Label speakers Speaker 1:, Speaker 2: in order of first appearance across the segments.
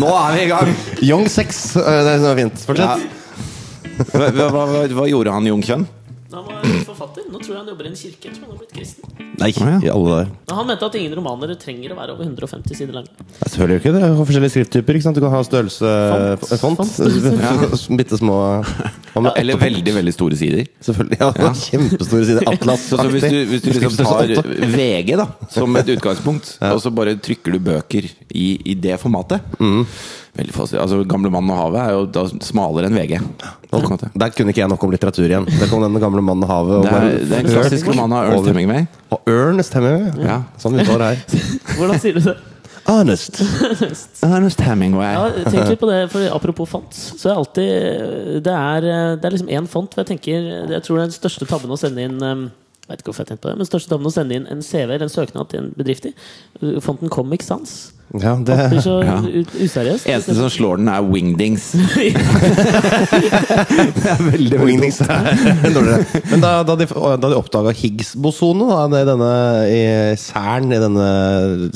Speaker 1: Nå er vi i gang!
Speaker 2: Young sex. eh, Det er fint.
Speaker 1: Ja.
Speaker 2: Fortsett.
Speaker 1: Hva, hva, hva, hva gjorde han Jungkjønn?
Speaker 3: Han var forfatter. Nå tror jeg han jobber i en kirke. Jeg tror han har blitt kristen.
Speaker 4: Nei, i alle dager.
Speaker 3: Men han mente at ingen romaner trenger å være over 150 sider lange.
Speaker 2: Nei, Selvfølgelig ikke. Det er jo forskjellige skrifttyper. Ikke sant? Du kan ha størrelse
Speaker 3: Font.
Speaker 2: eh, Font.
Speaker 3: Fontstørrelse.
Speaker 2: Ja. Bitte små Hva med
Speaker 1: Eller
Speaker 2: åtte font?
Speaker 1: veldig, veldig store sider.
Speaker 2: Selvfølgelig. Ja, Kjempestore sider.
Speaker 1: Så, så hvis du,
Speaker 2: Atlas-aktig.
Speaker 1: hvis du liksom tar
Speaker 2: Skriftstørrelse åtte.
Speaker 1: VG da som et utgangspunkt, og så bare trykker du bøker i, i det formatet Veldig fascinerende. Altså, 'Gamle mannen og havet' er jo da smalere enn VG. På en måte.
Speaker 2: Der kunne ikke jeg nok om litteratur igjen. Der kom den gamle mannen og havet. Og
Speaker 1: Det er,
Speaker 2: bare-
Speaker 1: det er en klassisk roman av Ernst
Speaker 2: Over-
Speaker 1: Hemingway.
Speaker 2: Og Ernest Hemingway.
Speaker 1: Ja.
Speaker 2: Sånn uttaler jeg.
Speaker 3: Hvordan sier du det?
Speaker 2: Ernest.
Speaker 1: Ernest Hemingway.
Speaker 3: Ja, tenk litt på det, for Apropos font, så er alltid Det er, det er liksom én font. For jeg tenker, jeg tror det er den største tabben å sende inn um, jeg vet ikke hvorfor jeg tenkte på det, men største tabben å sende inn en CV eller en søknad til en bedrift i. uh, Fonten Comic Sans.
Speaker 2: Ja,
Speaker 3: Det
Speaker 2: det
Speaker 3: blir så
Speaker 1: Ja.
Speaker 3: u- useriøst.
Speaker 1: Eneste som slår den, er Wingdings.
Speaker 2: Veldig Wingdings er dårligere. Men da, da de, da de oppdaga Higgs-bosonen da, det er denne i Cern, i denne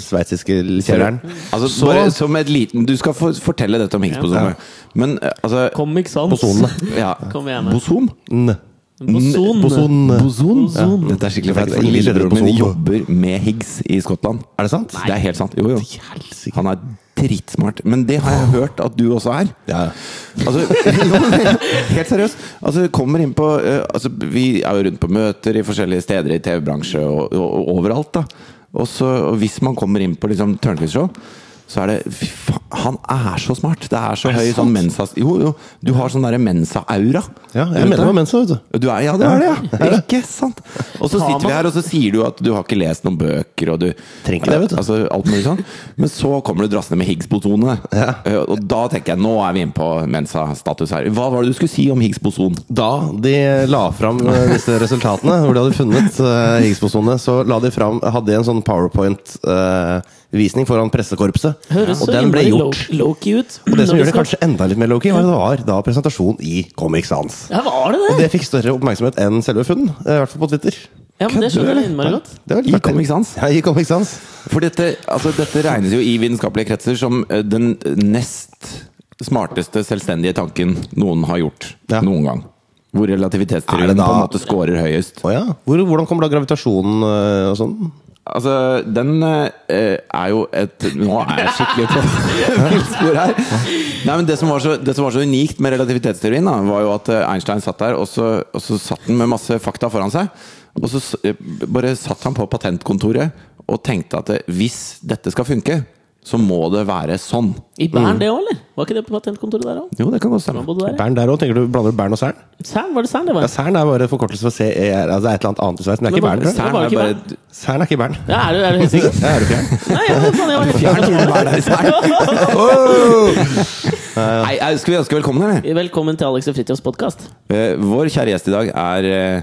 Speaker 2: sveitsiske kjelleren
Speaker 1: Altså, bare som et liten Du skal få fortelle dette om Higgs-bosomet. Men eh, altså
Speaker 3: Comic Sans.
Speaker 2: Bosonene.
Speaker 1: ja.
Speaker 3: Kom igjen.
Speaker 1: Bosom?
Speaker 2: N.
Speaker 3: Boson.
Speaker 2: Boson.
Speaker 1: Boson?
Speaker 3: Ja.
Speaker 1: Dette er skikkelig feil.
Speaker 2: Jeg vet ikke,
Speaker 1: Lillebroren min
Speaker 2: boson.
Speaker 1: jobber med Higgs i Skottland.
Speaker 2: Er det sant?
Speaker 1: Det er helt sant. Jo, jo. Han er dritsmart. Men det har jeg hørt at du også er.
Speaker 2: Ja.
Speaker 1: Altså, jo, men helt seriøst. Altså, vi kommer inn på eh, altså, Vi er jo rundt på møter i forskjellige steder i TV-bransje og, og, og overalt. da og, så, og hvis man kommer inn på liksom, Tørnquist-show, så er det Fy faen, han er så smart! Det er så høy sånn mensa... Jo, jo, du har sånn derre mensa-aura.
Speaker 2: Ja, jeg
Speaker 1: Rundt
Speaker 2: mener det
Speaker 1: deg.
Speaker 2: var mensa, vet du.
Speaker 1: Du er, ja, det er det, ja. Ikke sant? Og så sitter vi her, og så sier du at du har ikke lest noen bøker, og du
Speaker 2: Trenger ikke det, vet du.
Speaker 1: Altså, alt mulig sånn. Men så kommer du drassende med Higgs-bosonene. Eh, Og da tenker jeg nå er vi inne på Mensa-status her. Hva var det du skulle si om Higgs-boson?
Speaker 2: Da de la fram eh, disse resultatene, hvor de hadde funnet eh, Higgs-bosonene, så la de fram, hadde de en sånn powerpoint-visning foran pressekorpset.
Speaker 3: Høres
Speaker 2: og
Speaker 3: så
Speaker 2: den ble
Speaker 3: innmari
Speaker 2: gjort.
Speaker 3: low- low-key ut.
Speaker 2: Og det som
Speaker 3: Når
Speaker 2: gjør det
Speaker 3: skal-
Speaker 2: kanskje enda litt mer low-key, var at det var da presentasjon i Comic Sans.
Speaker 3: Ja, var det
Speaker 2: Og
Speaker 3: det?
Speaker 2: det fikk større oppmerksomhet enn selve funn, eh, i hvert fall på Twitter.
Speaker 3: Ja, men det
Speaker 2: Kødder du,
Speaker 3: skjønner jeg
Speaker 2: eller?
Speaker 3: innmari godt.
Speaker 2: Det var
Speaker 1: I
Speaker 2: litt artig.
Speaker 1: Comic Sans?
Speaker 2: Ja, i Comic Sans.
Speaker 1: For dette, altså, dette regnes jo i vitenskapelige kretser som eh, den nest smarteste selvstendige tanken noen har gjort
Speaker 2: Ja.
Speaker 1: noen gang. Hvor
Speaker 2: Er det
Speaker 1: relativitetsteorien
Speaker 2: da-
Speaker 1: på en måte scorer høyest.
Speaker 2: Å ja. Hvor, hvordan kommer da gravitasjonen eh, og sånn?
Speaker 1: Altså, den eh, er jo et Nå er jeg skikkelig på villspor her. Nei, men det som, var så, det som var så unikt med relativitetsteorien, da, var jo at eh, Einstein satt der, og så, og så satt han med masse fakta foran seg. Og så s- eh, bare satt han på patentkontoret og tenkte at eh, hvis dette skal funke, så må det være sånn.
Speaker 3: I
Speaker 2: Mm.
Speaker 3: Bern, det òg, eller? Var ikke det på patentkontoret der òg?
Speaker 1: Jo, det kan godt stemme.
Speaker 2: Bern der òg, tenker du? Blander du Bern og Cern?
Speaker 3: Cern, var det Cern det var?
Speaker 2: Ja, Cern er bare forkortelse for CER. Altså, det er et eller annet annet i Sveits, men det er
Speaker 3: Men
Speaker 2: ikke
Speaker 3: hva-
Speaker 2: Bern. tror jeg.
Speaker 1: Cern
Speaker 3: var
Speaker 1: er
Speaker 3: det ikke
Speaker 1: bare
Speaker 2: Cern er ikke Bern.
Speaker 3: Ja, er du, er du helt sikker?
Speaker 2: Det er det ikke.
Speaker 3: Nei, ja, faen, jeg var helt sikker.
Speaker 1: Nei, eh, Skal vi ønske velkommen, eller?
Speaker 3: Velkommen til Alex og Fritjofs podkast.
Speaker 1: Eh, Vår kjære gjest i dag er eh,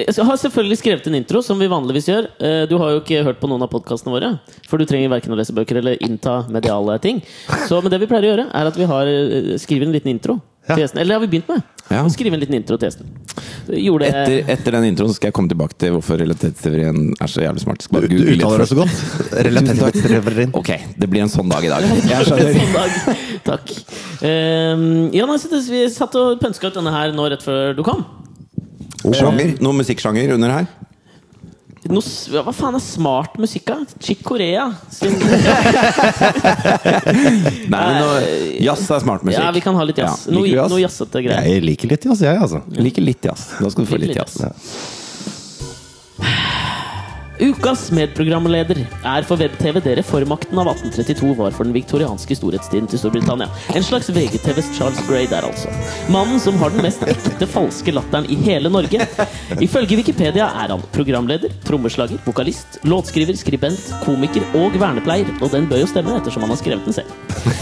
Speaker 3: Jeg Eh, har selvfølgelig skrevet en intro, som vi vanligvis gjør. Eh, Du har jo ikke hørt på noen av podkastene våre, for du trenger verken å lese bøker eller innta mediale ting. Så men det vi pleier å gjøre, er at vi har eh, skriver en liten intro
Speaker 2: Ja.
Speaker 3: til gjesten. Eller det har vi begynt med.
Speaker 1: Ja.
Speaker 3: Å skrive en liten intro til gjesten. Gjorde
Speaker 1: Etter, etter den introen skal jeg komme tilbake til hvorfor relativitetsteorien er så jævlig smart. Skal
Speaker 2: Du,
Speaker 1: bare
Speaker 2: du
Speaker 1: google litt
Speaker 2: uttaler det
Speaker 1: først.
Speaker 2: så godt. Relativitetsteorien.
Speaker 1: Ok, det blir en sånn dag i dag. Jeg
Speaker 3: Sånn
Speaker 1: skjønner.
Speaker 3: dag. Takk. Eh, ja, nei, så det, vi satt og pønska ut denne her nå rett før du kom.
Speaker 1: Sjanger, noe musikksjanger under her?
Speaker 3: Noe, s- ja, hva faen er smart musikk, da? Chick Corea. Sin,
Speaker 1: Nei, men nå- jazz er smart musikk.
Speaker 3: Eh, ja, vi kan ha litt jazz.
Speaker 1: Ja,
Speaker 3: Noe,
Speaker 1: liker du jazz?
Speaker 3: noe jazzete greier.
Speaker 2: Jeg liker litt jazz, jeg, altså.
Speaker 1: Jeg liker litt jazz. Da skal du få
Speaker 3: Liker
Speaker 1: litt
Speaker 3: litt
Speaker 1: jazz.
Speaker 2: Ja.
Speaker 3: Ukas medprogramleder er for web-TV det reformakten av 1832 var for den viktorianske storhetstiden til Storbritannia. En slags VGTVs Charles Gray der, altså. Mannen som har den mest ekte falske latteren i hele Norge. Ifølge Wikipedia er han programleder, trommeslager, vokalist, låtskriver, skribent, komiker og vernepleier, og den bør jo stemme ettersom han har skrevet den selv.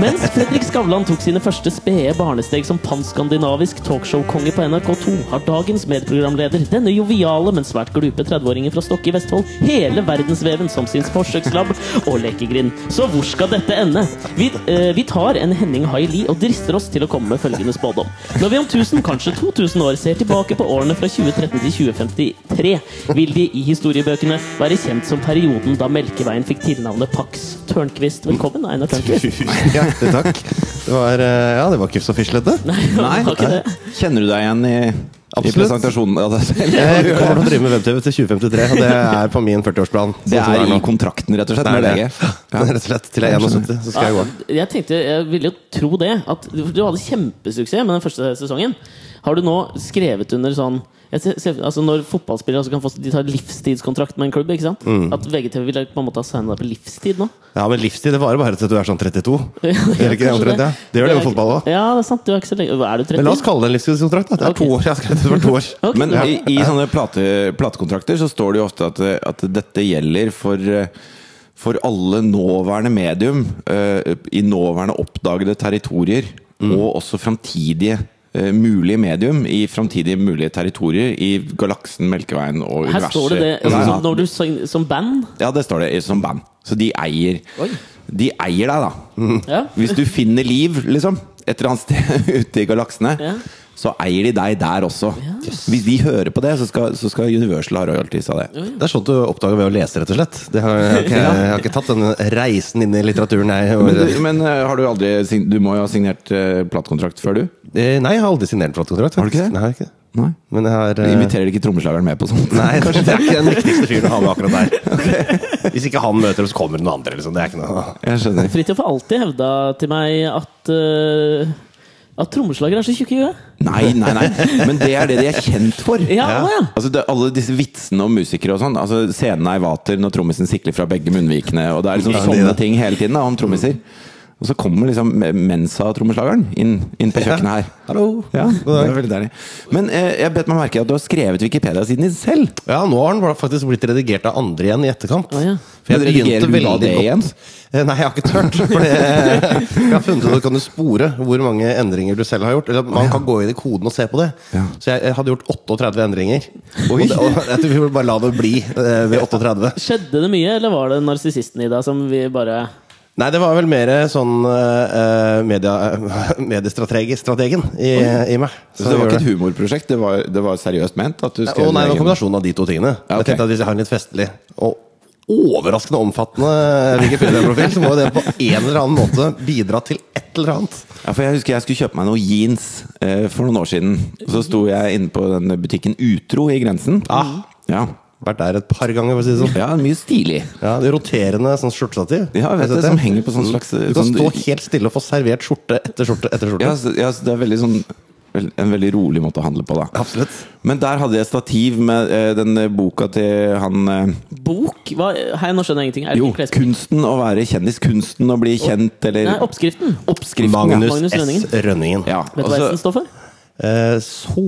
Speaker 3: Mens Fredrik Skavlan tok sine første spede barnesteg som panskandinavisk talkshow-konge på NRK2, har dagens medprogramleder, denne joviale, men svært glupe 30-åringen fra Stokke i Vestfold hele verdensveven som sin forsøkslab og lekegrind. Så hvor skal dette ende? Vi, eh, vi tar en Henning Haili og drister oss til å komme med følgende spådom. Når vi om 1000, kanskje 2000 år ser tilbake på årene fra 2013 til 2053, vil de i historiebøkene være kjent som perioden da Melkeveien fikk tilnavnet Pax Tørnquist. Velkommen, Einar Tørnquist.
Speaker 2: Hjertelig takk. Det var, eh, ja, det var ikke så fislete.
Speaker 3: Nei,
Speaker 1: Nei,
Speaker 3: det var ikke det.
Speaker 1: Kjenner du deg igjen i, i
Speaker 2: Absolutt.
Speaker 1: presentasjonen av deg selv?
Speaker 2: Jeg kommer til å drive med web-TV til 2053, og det er på min 40-årsplan.
Speaker 1: Det
Speaker 2: Sånn som
Speaker 1: er i
Speaker 2: nå.
Speaker 1: kontrakten, rett og slett, med
Speaker 2: Det er
Speaker 1: lege.
Speaker 2: det. Rett og slett. Til jeg er 71, så skal jeg gå.
Speaker 3: Ja, jeg tenkte, jeg ville jo tro det. At du du hadde kjempesuksess med den første sesongen. Har du nå skrevet under sånn jeg ser, ser, altså Når fotballspillere altså kan få, De tar livstidskontrakt med en klubb, ikke sant?
Speaker 2: Mm.
Speaker 3: At VGTV vil på en måte ha signa deg på livstid nå.
Speaker 2: Ja, men livstid det varer bare til du er sånn 32.
Speaker 3: Ja,
Speaker 2: Gjør det ikke det
Speaker 3: kanskje
Speaker 2: omtrent? Ja. Det gjør det
Speaker 3: er
Speaker 2: med fotball
Speaker 3: ikke-
Speaker 2: òg.
Speaker 3: Ja, det er sant. Du er ikke så lenge Hva Er du 30?
Speaker 2: Men la oss kalle det en livstidskontrakt. da. Det er
Speaker 3: Ok.
Speaker 2: to år. Jeg har skrevet det for to år.
Speaker 3: Ok.
Speaker 1: Men i, i sånne plate, platekontrakter så står det jo ofte at, at dette gjelder for eh, for alle nåværende medium eh, i nåværende oppdagede territorier, og også framtidige eh, mulige medium i framtidige mulige territorier i galaksen, Melkeveien og
Speaker 3: Her
Speaker 1: universet.
Speaker 3: står det det.
Speaker 1: Ja,
Speaker 3: Altså,
Speaker 1: ja.
Speaker 3: som, når du sang, som band
Speaker 1: Ja, det står det i- som band. Så de eier
Speaker 3: Oi.
Speaker 1: De eier deg, da.
Speaker 3: Ja.
Speaker 1: Hvis du finner liv, liksom, et eller annet sted ute i galaksene,
Speaker 3: Ja.
Speaker 1: så eier de deg der også. Hvis de hører på det, så skal, så skal Universal ha royalties av det.
Speaker 2: Det er sånt du oppdager ved å lese, rett og slett. Det har, jeg, har ikke, jeg har ikke tatt den reisen inn i litteraturen, jeg.
Speaker 1: Men,
Speaker 2: over-
Speaker 1: du, men eh, har du aldri sign- Du må jo ha signert uh, platekontrakt før, du?
Speaker 2: Eh, Nei, jeg har aldri signert platekontrakt.
Speaker 1: Har du ikke det?
Speaker 2: Nei, jeg har ikke det.
Speaker 1: Nei.
Speaker 2: Men jeg har
Speaker 1: Du
Speaker 2: eh,
Speaker 1: inviterer ikke trommeslageren med på sånt?
Speaker 2: Nei, kanskje det er ikke den viktigste fyren å ha med akkurat der. Hvis ikke han møter opp, så kommer det noen andre. Liksom. Det er ikke noe
Speaker 1: Jeg skjønner.
Speaker 3: Fridtjof har alltid hevda til meg at eh, At trommeslagere er så tjukke i huet.
Speaker 1: Nei, nei, nei. Men det er det de er kjent for.
Speaker 3: Ja, å ja.
Speaker 1: Altså, det, alle disse vitsene om musikere og sånn. Altså, scenen er i vater når trommisen sikler fra begge munnvikene. Og det er liksom
Speaker 2: Ja, det er
Speaker 1: sånne
Speaker 2: det.
Speaker 1: ting hele tiden da, om trommiser. Og så kommer liksom Mensa-trommeslageren inn, inn på kjøkkenet her.
Speaker 2: Hallo.
Speaker 1: Ja, det er veldig deilig. Men eh, jeg bet meg merke i at du har skrevet Wikipedia-siden din selv.
Speaker 2: Ja, nå har den faktisk blitt redigert av andre igjen i etterkant.
Speaker 3: Å, ja.
Speaker 2: For
Speaker 1: Men
Speaker 2: jeg begynte
Speaker 1: redigerer du da
Speaker 2: veldig
Speaker 1: det
Speaker 2: godt
Speaker 1: igjen?
Speaker 2: Eh, Nei, jeg har ikke tørt. For det, jeg har funnet ut at du kan jo spore hvor mange endringer du selv har gjort. Eller man kan gå inn i koden og se på det.
Speaker 1: Ja.
Speaker 2: Så jeg, jeg hadde gjort 38 endringer. Og, det, og jeg tror vi burde bare la det bli eh, ved 38.
Speaker 3: Skjedde det mye, eller var det narsissisten i deg som vi bare
Speaker 2: Nei, det var vel mer sånn eh, media, mediestrategi- strategen i, i meg.
Speaker 1: Så det var
Speaker 2: jeg
Speaker 1: ikke et
Speaker 2: gjorde
Speaker 1: humorprosjekt, det var, det var seriøst ment? At du skrev
Speaker 2: Å nei, det
Speaker 1: din
Speaker 2: var
Speaker 1: egen-
Speaker 2: kombinasjonen av de to tingene.
Speaker 1: Ja, ok.
Speaker 2: Jeg tenkte at Hvis jeg har en litt festlig og overraskende omfattende eh, Wikipedia-profil, så må jo det på en eller annen måte bidra til et eller annet.
Speaker 1: Ja, for jeg husker jeg skulle kjøpe meg noen jeans eh, for noen år siden. Og så sto jeg inne på den butikken Utro i Grensen.
Speaker 2: Ah.
Speaker 1: Ja.
Speaker 2: Vært der et par ganger, for å si det sånn.
Speaker 1: ja, mye stilig.
Speaker 2: Ja, det roterende sånn skjortestativ.
Speaker 1: Ja, jeg vet
Speaker 2: Har du
Speaker 1: det,
Speaker 2: sett Mm.
Speaker 1: som henger på sånn slags
Speaker 2: Du kan
Speaker 1: sånn,
Speaker 2: stå helt stille og få servert skjorte etter skjorte etter skjorte.
Speaker 1: ja, så- ja, så det er veldig sånn vel- en veldig rolig måte å handle på, da.
Speaker 2: Absolutt.
Speaker 1: Men der hadde jeg stativ med eh, den eh, boka til han eh,
Speaker 3: Bok? Hva? Hei, nå skjønner jeg ingenting. Er det
Speaker 1: Jo,
Speaker 3: ikke klesbok?
Speaker 1: kunsten å være kjendis. Kunsten å bli kjent,
Speaker 3: Nei,
Speaker 1: eller
Speaker 3: oppskriften.
Speaker 1: Oppskriften.
Speaker 2: Magnus,
Speaker 3: Magnus Rønningen.
Speaker 2: S. Rønningen.
Speaker 1: Ja,
Speaker 3: Vet du
Speaker 1: og
Speaker 3: hva
Speaker 1: så-
Speaker 3: S-en står for?
Speaker 2: Eh,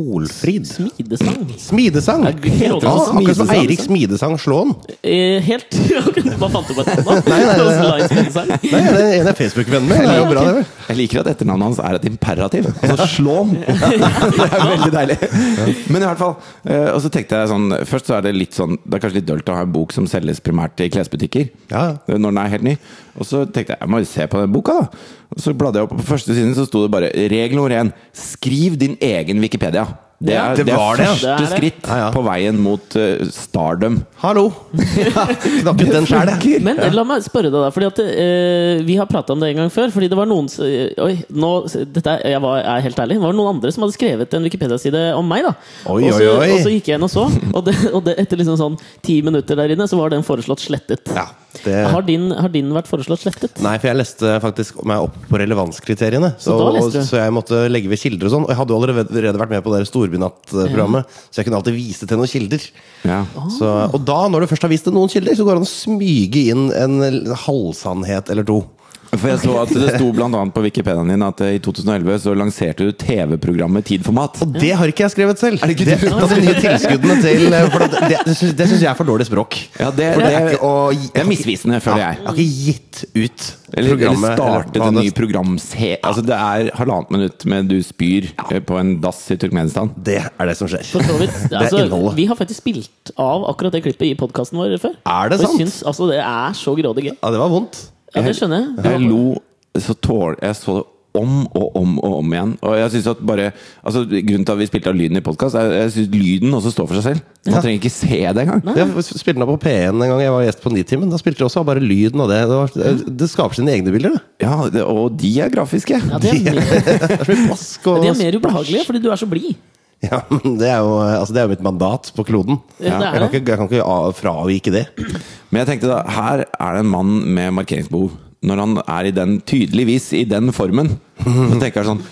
Speaker 2: Solfrid.
Speaker 3: Smidesang.
Speaker 2: Smidesang!
Speaker 3: Er det ikke
Speaker 2: Ja,
Speaker 3: råd til å si
Speaker 2: akkurat som
Speaker 3: smidesang,
Speaker 2: Eirik
Speaker 3: liksom?
Speaker 2: Smidesang Slåen.
Speaker 3: Eh, helt Hva fant du på et navn, da? Nei, nei,
Speaker 2: Nei, det er en jeg er Facebook-venn med. Det er jo bra, det. vel?
Speaker 1: Jeg liker at etternavnet hans er et imperativ. Altså slån! Det er veldig deilig. Men i hvert fall, eh, og så tenkte jeg sånn Først så er det litt sånn Det er kanskje litt dølt å ha en bok som selges primært i klesbutikker. eh,
Speaker 2: Ja.
Speaker 1: Når den er helt ny. Og så tenkte jeg jeg må jo se på den boka, da. Og så bladde jeg opp, og på første siden så sto det bare regel nummer én skriv din egen Wikipedia. Det
Speaker 3: Ja,
Speaker 1: er,
Speaker 2: det
Speaker 1: det er
Speaker 2: var det, ja.
Speaker 1: første
Speaker 3: Det er det.
Speaker 1: skritt
Speaker 2: Ja, ja.
Speaker 1: på veien mot eh, stardom.
Speaker 2: Hallo! Knakket den sjæl, jeg.
Speaker 3: Men la meg spørre deg, da. Fordi at eh, Vi har prata om det en gang før. Fordi det var noen s- eh, Oi, nå, dette er, jeg var, er helt ærlig. Det var noen andre som hadde skrevet en Wikipedia-side om meg. da
Speaker 2: Oi,
Speaker 3: og, så,
Speaker 2: oi, oi.
Speaker 3: og så gikk jeg inn og så, og, det, og det, etter liksom sånn ti minutter der inne, så var den foreslått slettet.
Speaker 2: Ja, det-
Speaker 3: har, din, har din vært foreslått slettet?
Speaker 2: Nei, for jeg leste faktisk meg opp på relevanskriteriene. Så,
Speaker 3: da
Speaker 2: og,
Speaker 3: leste du?
Speaker 2: så jeg måtte legge ved kilder og sånn. Og jeg hadde jo allerede vært med på det der Storbynatt-programmet, så jeg kunne alltid vise til noen kilder.
Speaker 1: Ja.
Speaker 2: Så, og da, når du først har vist til noen kilder, så går det an å smyge inn en halvsannhet eller to.
Speaker 1: For jeg så at Det sto bl.a. på Wikipediaen din at eh, i 2011 så lanserte du TV-programmet Tid for mat.
Speaker 2: Og det har ikke jeg skrevet selv!
Speaker 1: det ikke
Speaker 2: det
Speaker 1: du?
Speaker 2: er et av de nye tilskuddene til eh, For det, det, det, syns, det syns jeg er for dårlig språk.
Speaker 1: Ja, det,
Speaker 2: For det er
Speaker 1: det,
Speaker 2: ikke å gi-
Speaker 1: det er misvisende, føler jeg.
Speaker 2: Jeg har ikke gitt ut
Speaker 1: Eller, eller
Speaker 2: programmet,
Speaker 1: startet
Speaker 2: hva
Speaker 1: en
Speaker 2: det-
Speaker 1: ny programserie. Altså, det er halvannet minutt med du spyr eh, på en dass i Turkmenistan.
Speaker 2: Det er det som skjer.
Speaker 3: For så vidt.
Speaker 2: Det er
Speaker 3: Altså,
Speaker 2: innholdet.
Speaker 3: vi har faktisk spilt av akkurat det klippet i podkasten vår før.
Speaker 2: Er det
Speaker 3: Og jeg
Speaker 2: sant?
Speaker 3: Syns, altså, det er så grådig gøy.
Speaker 2: Ja, det var vondt.
Speaker 3: Ja, det skjønner jeg.
Speaker 1: Jeg lo så tål Jeg så det om og om og om igjen. Og jeg synes at bare altså, Grunnen til at vi spilte av lyden i podkast, er jeg synes lyden også står for seg selv. Man trenger ikke se det engang.
Speaker 3: Ah.
Speaker 2: Jeg spilte den opp på P1 en gang jeg var gjest på Nitimen. Da spilte de også bare lyden av det. Det, var, det skaper sine egne bilder, det.
Speaker 1: Ja, det, og de er grafiske.
Speaker 3: Ja, de, er mer,
Speaker 2: Det er så mye plask og
Speaker 3: de er mer ubehagelige fordi du er så blid.
Speaker 2: Ja, men det er jo, altså, det er jo mitt mandat på kloden.
Speaker 3: Ja, det er
Speaker 2: jeg, kan
Speaker 3: det.
Speaker 2: ikke, jeg kan ikke av- fravike det.
Speaker 1: Men jeg tenkte da, her er det en mann med markeringsbehov. Når han er i den, tydeligvis i den formen, så tenker jeg sånn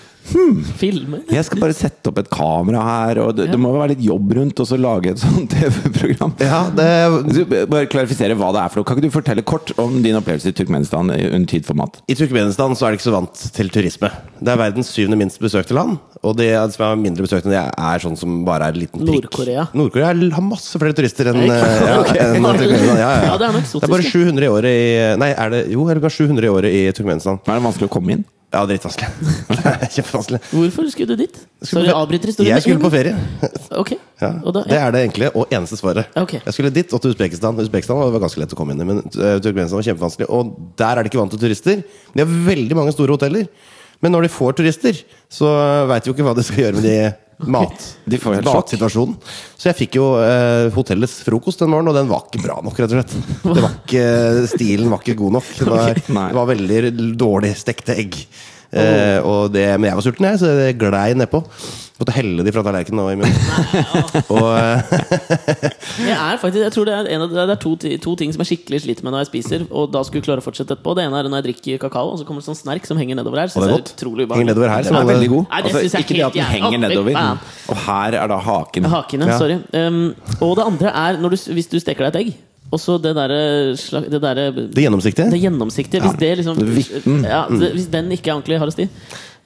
Speaker 3: Filmer.
Speaker 1: Jeg skal bare sette opp et kamera her, og det, det må jo være litt jobb rundt, og så lage et sånt TV-program.
Speaker 2: Ja, det
Speaker 1: Du, Bare klarifisere hva det er for noe. Kan ikke du fortelle kort om din opplevelse i Turkmenistan under tid for mat?
Speaker 2: I Turkmenistan så er de ikke så vant til turisme. Det er verdens syvende minst besøkte land. Og det er- som er mindre besøkte, det er sånn som bare er en liten prikk.
Speaker 3: Nord-Korea.
Speaker 2: Nord-Korea er- har masse flere turister enn
Speaker 3: Nei, ikke sant?
Speaker 2: eh, ja,
Speaker 3: Ok.
Speaker 2: enn Turkmenistan. Ja, ja, ja.
Speaker 3: Ja, det er nok
Speaker 2: det er bare
Speaker 3: eksotiske.
Speaker 2: 700 i året i Nei, er det jo er det bare 700 i året i Turkmenistan?
Speaker 1: Er det vanskelig å komme inn?
Speaker 2: Ja, drittvanskelig. Kjempevanskelig.
Speaker 3: Hvorfor skulle du dit?
Speaker 2: Skulle
Speaker 3: Sorry,
Speaker 2: på
Speaker 3: jeg
Speaker 2: fe-
Speaker 3: avbryter historien. Mm,
Speaker 2: Jeg skulle på ferie.
Speaker 3: Ok.
Speaker 2: Ja,
Speaker 3: Og da,
Speaker 2: Det er det enkle og eneste svaret.
Speaker 3: Ok.
Speaker 2: Jeg skulle dit og til Usbekistan. Usbekistan var ganske lett å komme inn i, men eh, Turkmenistan var kjempevanskelig. Og der er det ikke vant til turister. De har veldig mange store hoteller. Men når de får turister, så veit de jo ikke hva de skal gjøre med de mat.
Speaker 1: De får helt sjokk.
Speaker 2: Matsituasjonen. Så jeg fikk jo eh, hotellets frokost den morgenen, og den var ikke bra nok, rett og slett. Det var ikke, stilen var ikke god nok. Det var,
Speaker 1: Nei.
Speaker 2: det var veldig dårlig stekte egg. Eh, og det, men jeg var sulten, jeg, så det glei nedpå. Måtte helle de fra tallerkenen og i munnen. og eh,
Speaker 3: jeg, er faktisk, jeg tror det er, en av, det er to, ti- to ting som jeg skikkelig sliter med når jeg spiser. Og da skulle jeg klare å fortsette etterpå Det ene er når jeg drikker kakao, og så kommer det sånn snerk som henger nedover her.
Speaker 2: Og
Speaker 3: Synes
Speaker 2: det er
Speaker 3: jeg
Speaker 2: godt.
Speaker 3: utrolig
Speaker 2: Henger
Speaker 3: ubehagelig.
Speaker 2: nedover
Speaker 1: Den
Speaker 2: her. som
Speaker 1: er
Speaker 2: alle-
Speaker 1: veldig god. Altså,
Speaker 3: Nei, det synes jeg
Speaker 1: ikke det
Speaker 3: helt
Speaker 1: at den
Speaker 3: jævlig.
Speaker 1: henger nedover.
Speaker 3: Faen.
Speaker 1: Og her er da haken.
Speaker 3: Hakene,
Speaker 2: Ja.
Speaker 3: sorry. Um, og det andre er når du, s- hvis du steker deg et egg, og så det derre slag- Det derre det,
Speaker 2: Det gjennomsiktige.
Speaker 3: gjennomsiktige Hvis det liksom
Speaker 1: Vitten.
Speaker 3: ja,
Speaker 2: Mm.
Speaker 3: det, Hvis den ikke er ordentlig hard og stiv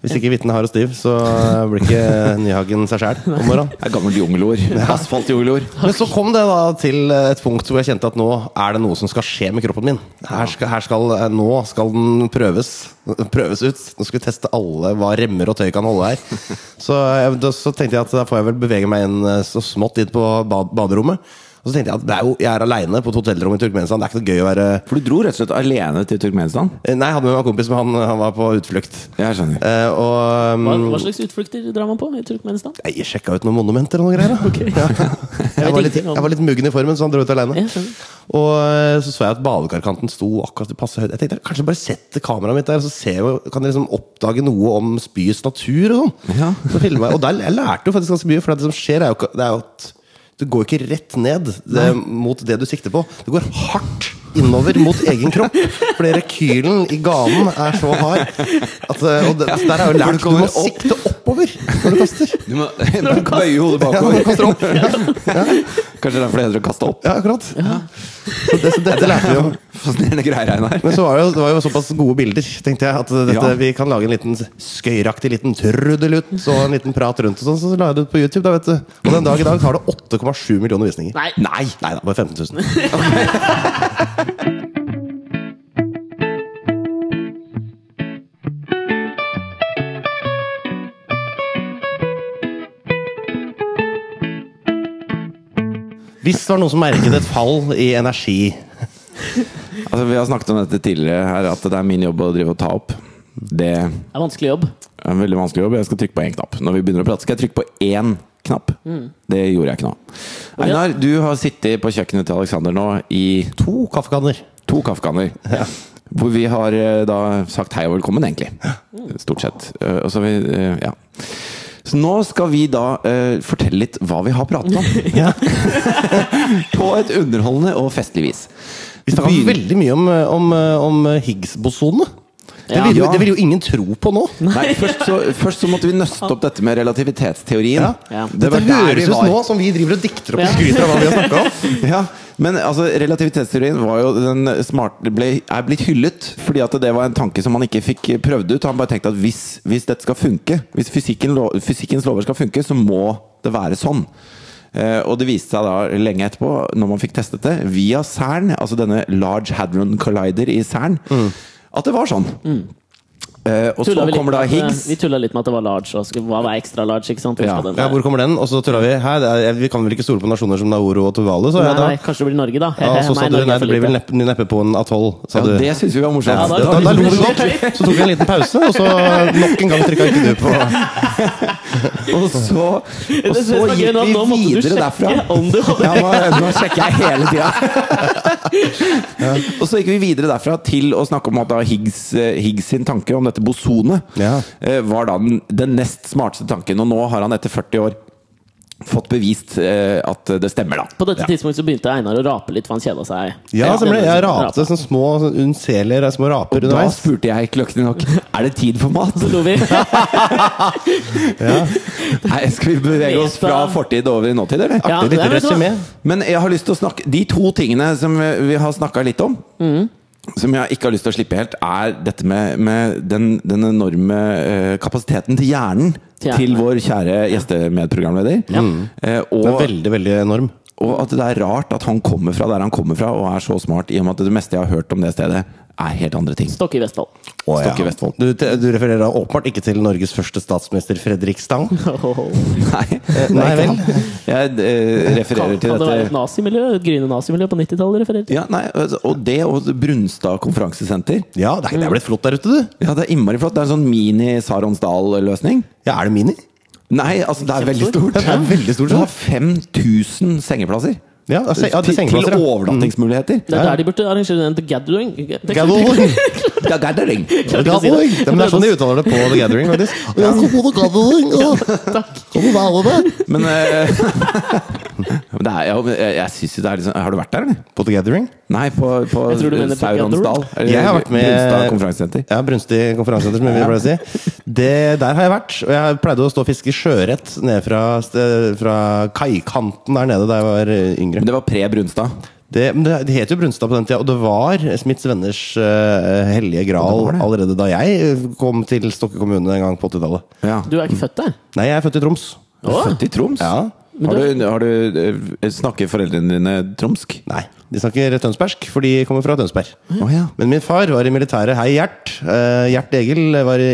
Speaker 2: Hvis ikke vitnet har og stiv, så eh, blir ikke Nyhagen seg sjæl om morgenen.
Speaker 1: Det er gammelt jungelord. Asfaltjungelord.
Speaker 2: Men så kom det da til et punkt hvor jeg kjente at nå er det noe som skal skje med kroppen min. Her skal, her skal, eh, nå skal den prøves, prøves ut. Nå skal vi teste alle hva remmer og tøy kan holde her. Så, jeg, da, så tenkte jeg at da får jeg vel bevege meg inn eh, så smått inn på bad, baderommet. Og så tenkte jeg at det er jo, jeg er aleine på et hotellrom i Turkmenistan. Det er ikke noe gøy å være eh,
Speaker 1: For du dro rett og slett alene til Turkmenistan?
Speaker 2: Nei, jeg hadde med meg en kompis, men han, han var på utflukt.
Speaker 1: Jeg skjønner.
Speaker 2: Eh, og
Speaker 3: hva,
Speaker 2: um,
Speaker 3: hva slags utflukter drar man på i Turkmenistan?
Speaker 2: Jeg sjekka ut noen monumenter og noen greier. Da. Ja. Jeg, var litt,
Speaker 3: ingenting om-
Speaker 2: jeg var litt muggen i formen, så han dro ut alene.
Speaker 3: Ja, skjønner.
Speaker 2: Og eh, så så jeg at badekarkanten sto akkurat i passe høyde. Jeg tenkte kanskje bare sette kameraet mitt der, så ser jeg, kan jeg liksom oppdage noe om spyets natur og sånn.
Speaker 1: Ja.
Speaker 2: Så filmet jeg, og der, jeg lærte jo faktisk ganske mye, for det som skjer, er jo, ikke- det er jo at du går ikke rett ned det, mot det du sikter på. Du går hardt innover mot egen kropp, fordi rekylen i ganen er så hard. At, eh, og det, der er jo
Speaker 1: For du
Speaker 2: lært du må
Speaker 1: kommer opp.
Speaker 2: sikte oppover når du kaster.
Speaker 1: Du må bøye hodet
Speaker 2: Ja, når du
Speaker 1: bakover.
Speaker 2: kaster opp.
Speaker 1: Kanskje derfor det heter å kaste opp.
Speaker 2: Ja, akkurat. Så det, så dette lærte vi om.
Speaker 1: Fascinerende greier, Einar.
Speaker 2: Men så var det, jo, det var jo såpass gode bilder, tenkte jeg, at dette,
Speaker 1: Ja.
Speaker 2: vi kan lage en liten skøyeraktig liten trudelutt og en liten prat rundt og sånn. Så la jeg det ut på YouTube, da, vet du. Og den dag i dag har det 8,7 millioner visninger.
Speaker 3: Nei,
Speaker 1: Nei!
Speaker 2: Nei da, bare 15 000. Hvis det var noen som merket et fall i energi
Speaker 1: Altså, vi har snakket om dette tidligere her, at det er min jobb å drive og ta opp. Det er
Speaker 3: det er vanskelig jobb.
Speaker 1: en veldig vanskelig jobb. Jeg skal trykke på én knapp. Når vi begynner å prate, skal jeg trykke på én knapp. Det gjorde jeg ikke nå. Einar, du har sittet på kjøkkenet til Alexander nå i
Speaker 2: To kaffekanner.
Speaker 1: To kaffekanner. Hvor vi har eh, da sagt hei og velkommen, egentlig. Stort sett. Eh, Og så, har vi, eh, ja. så nå skal vi da eh, fortelle litt hva vi har pratet om.
Speaker 2: Ja.
Speaker 1: På et underholdende og festlig vis.
Speaker 2: Vi snakka
Speaker 1: Begynn-
Speaker 2: veldig mye om, eh, om, om Higgs-bosonene. Det,
Speaker 3: Ja.
Speaker 2: vil jo-
Speaker 1: Ja.
Speaker 2: det vil jo ingen tro på nå.
Speaker 1: Nei, først så, først så måtte vi nøste opp dette med relativitetsteorien.
Speaker 2: Ja.
Speaker 3: Ja.
Speaker 1: Det
Speaker 2: Dette
Speaker 1: var der
Speaker 2: høres
Speaker 1: vi
Speaker 2: ut
Speaker 1: var.
Speaker 2: nå som vi driver og dikter opp og
Speaker 3: Ja.
Speaker 2: skryter av hva vi har snakka om.
Speaker 1: Ja, Men altså, relativitetsteorien var jo den smarte ble, er blitt hyllet, fordi at det var en tanke som han ikke fikk prøvd ut. Han bare tenkte at hvis, hvis dette skal funke, hvis fysikken, lo- fysikkens lover skal funke, så må det være sånn. Eh, og det viste seg da lenge etterpå, når man fikk testet det, via CERN, altså denne Large Hadron Collider i CERN, at det var sånn. Eh, og så
Speaker 3: Tullet vi litt
Speaker 1: kommer da
Speaker 3: med at-
Speaker 1: Higgs.
Speaker 3: Vi tulla litt med at det var large. Og skulle, hva var ekstra large? ikke sant? Husker
Speaker 1: Ja.
Speaker 3: den
Speaker 2: Ja,
Speaker 3: der?
Speaker 2: hvor kommer den? Og så tulla vi. Hæ, det er, vi kan vel ikke stole på nasjoner som Nauru og Tuvalu, sa
Speaker 3: nei,
Speaker 2: jeg da.
Speaker 3: nei, kanskje det blir Norge, da.
Speaker 2: Ja, og så sa du
Speaker 3: Norge er
Speaker 2: nei,
Speaker 3: for
Speaker 2: det blir vel
Speaker 3: lite.
Speaker 2: neppe, neppe på en atoll, sa
Speaker 1: Ja,
Speaker 2: du.
Speaker 1: det syns vi var morsomt.
Speaker 3: Ja, da-
Speaker 2: da, da lo vi godt. Så tok vi en liten pause, og så nok en gang trykka ikke du på.
Speaker 1: Og så, og
Speaker 3: Det
Speaker 1: så
Speaker 3: som er gøy
Speaker 1: gikk
Speaker 3: nå, at nå måtte
Speaker 1: vi
Speaker 3: du
Speaker 1: videre
Speaker 3: sjekke
Speaker 1: derfra.
Speaker 3: Om du hadde
Speaker 1: Ja, nå, nå sjekker jeg hele tida. Og så gikk vi videre derfra til å snakke om at da Higgs, eh, Higgs sin tanke om dette bosonet
Speaker 2: Ja.
Speaker 1: eh, var da den, den nest smarteste tanken. Og nå har han etter 40 år fått bevist eh, at det stemmer, da.
Speaker 3: På dette tidspunktet så begynte Einar å rape litt, for han kjeda seg.
Speaker 2: Ja, stemmer det. Jeg
Speaker 3: Rape.
Speaker 2: rapte sånne små sånn unnselige ra- små raper
Speaker 1: Da
Speaker 2: underveis.
Speaker 1: spurte jeg kløktig nok Er det tid for mat.
Speaker 3: Så lo vi.
Speaker 1: Nei, skal vi bevege oss fra fortid over i nåtid, eller?
Speaker 3: Ja,
Speaker 2: Artig
Speaker 3: nei,
Speaker 2: lite
Speaker 3: vet du hva?
Speaker 2: resymé.
Speaker 1: Men jeg har lyst til å snakke De to tingene som vi vi har snakka litt om, som jeg ikke har lyst til å slippe helt, er dette med, med den, den enorme eh, kapasiteten til hjernen
Speaker 3: Til hjernen.
Speaker 1: til vår kjære gjestemedprogramleder. Eh,
Speaker 3: Ja.
Speaker 2: Den Mm. er
Speaker 1: og,
Speaker 2: veldig, veldig enorm.
Speaker 1: og at det er rart at han kommer fra der han kommer fra, og er så smart, i og med at det meste jeg har hørt om det stedet, er helt andre ting.
Speaker 3: Stokke i Vestfold.
Speaker 2: Å, ja.
Speaker 1: Stokke Vestfold.
Speaker 2: Du, du refererer da åpenbart ikke til Norges første statsminister Fredrik Stang. Eh,
Speaker 1: Nei,
Speaker 2: Nei vel.
Speaker 1: Jeg eh,
Speaker 3: Kan,
Speaker 1: refererer
Speaker 3: kan
Speaker 1: til
Speaker 3: det være et
Speaker 1: dette.
Speaker 3: nazimiljø? Et gryende nazimiljø på 90-tallet refererer til?
Speaker 1: Ja, nei, altså, og det og Brunstad konferansesenter.
Speaker 2: Ja, det er det er blitt flott der ute, du.
Speaker 1: Ja, det er innmari flott. Det er en sånn mini-Saronsdal-løsning.
Speaker 2: Ja, er det mini?
Speaker 1: Nei, altså det er veldig
Speaker 3: Kjempestort.
Speaker 1: stort.
Speaker 2: Det er veldig stort,
Speaker 1: Det har 5000 sengeplasser.
Speaker 2: Ja, det er se- ja, det er
Speaker 1: Til-
Speaker 2: sengeplasser,
Speaker 1: Til
Speaker 2: ja. Mm.
Speaker 1: overnattingsmuligheter.
Speaker 3: Det er der de burde arrangere en The Gathering. Det-
Speaker 2: Gathering.
Speaker 1: Det er gathering.
Speaker 2: The Gathering. Ja, men det er sånn de uttaler det på The Gathering, faktisk. Ja.
Speaker 1: Men eh, men det er, jeg, jeg, jeg synes jo det er liksom Har du vært der, eller?
Speaker 2: På The Gathering?
Speaker 1: Nei, på, på
Speaker 3: Jeg tror du mener på
Speaker 1: Sauronsdal. eller
Speaker 2: Jeg har vært med
Speaker 1: Brunstad konferansesenter.
Speaker 2: Ja, Brunstig konferansesenter, som vi pleier å si. Det, der har jeg vært. Og jeg pleide å stå og fiske sjøørret nede fra, ste- fra kaikanten der nede da jeg var eh, yngre.
Speaker 1: Men det var pre-Brunstad.
Speaker 2: Det, men det, det het jo Brunstad på den tida, og det var Smiths Venners eh, hellige gral
Speaker 1: Det var det.
Speaker 2: allerede da jeg eh, kom til Stokke kommune en gang på 80-tallet.
Speaker 1: Ja.
Speaker 3: Du er ikke født der?
Speaker 2: Nei, jeg er født i Troms.
Speaker 1: Du er født i Troms?
Speaker 2: Ja.
Speaker 1: Har du, har du, eh, snakker foreldrene dine tromsk?
Speaker 2: Nei, de snakker tønsbergsk, for de kommer fra Tønsberg.
Speaker 1: Å ja.
Speaker 2: Men min far var i militæret. Hei, Gjert. Eh, Gjert Egil var i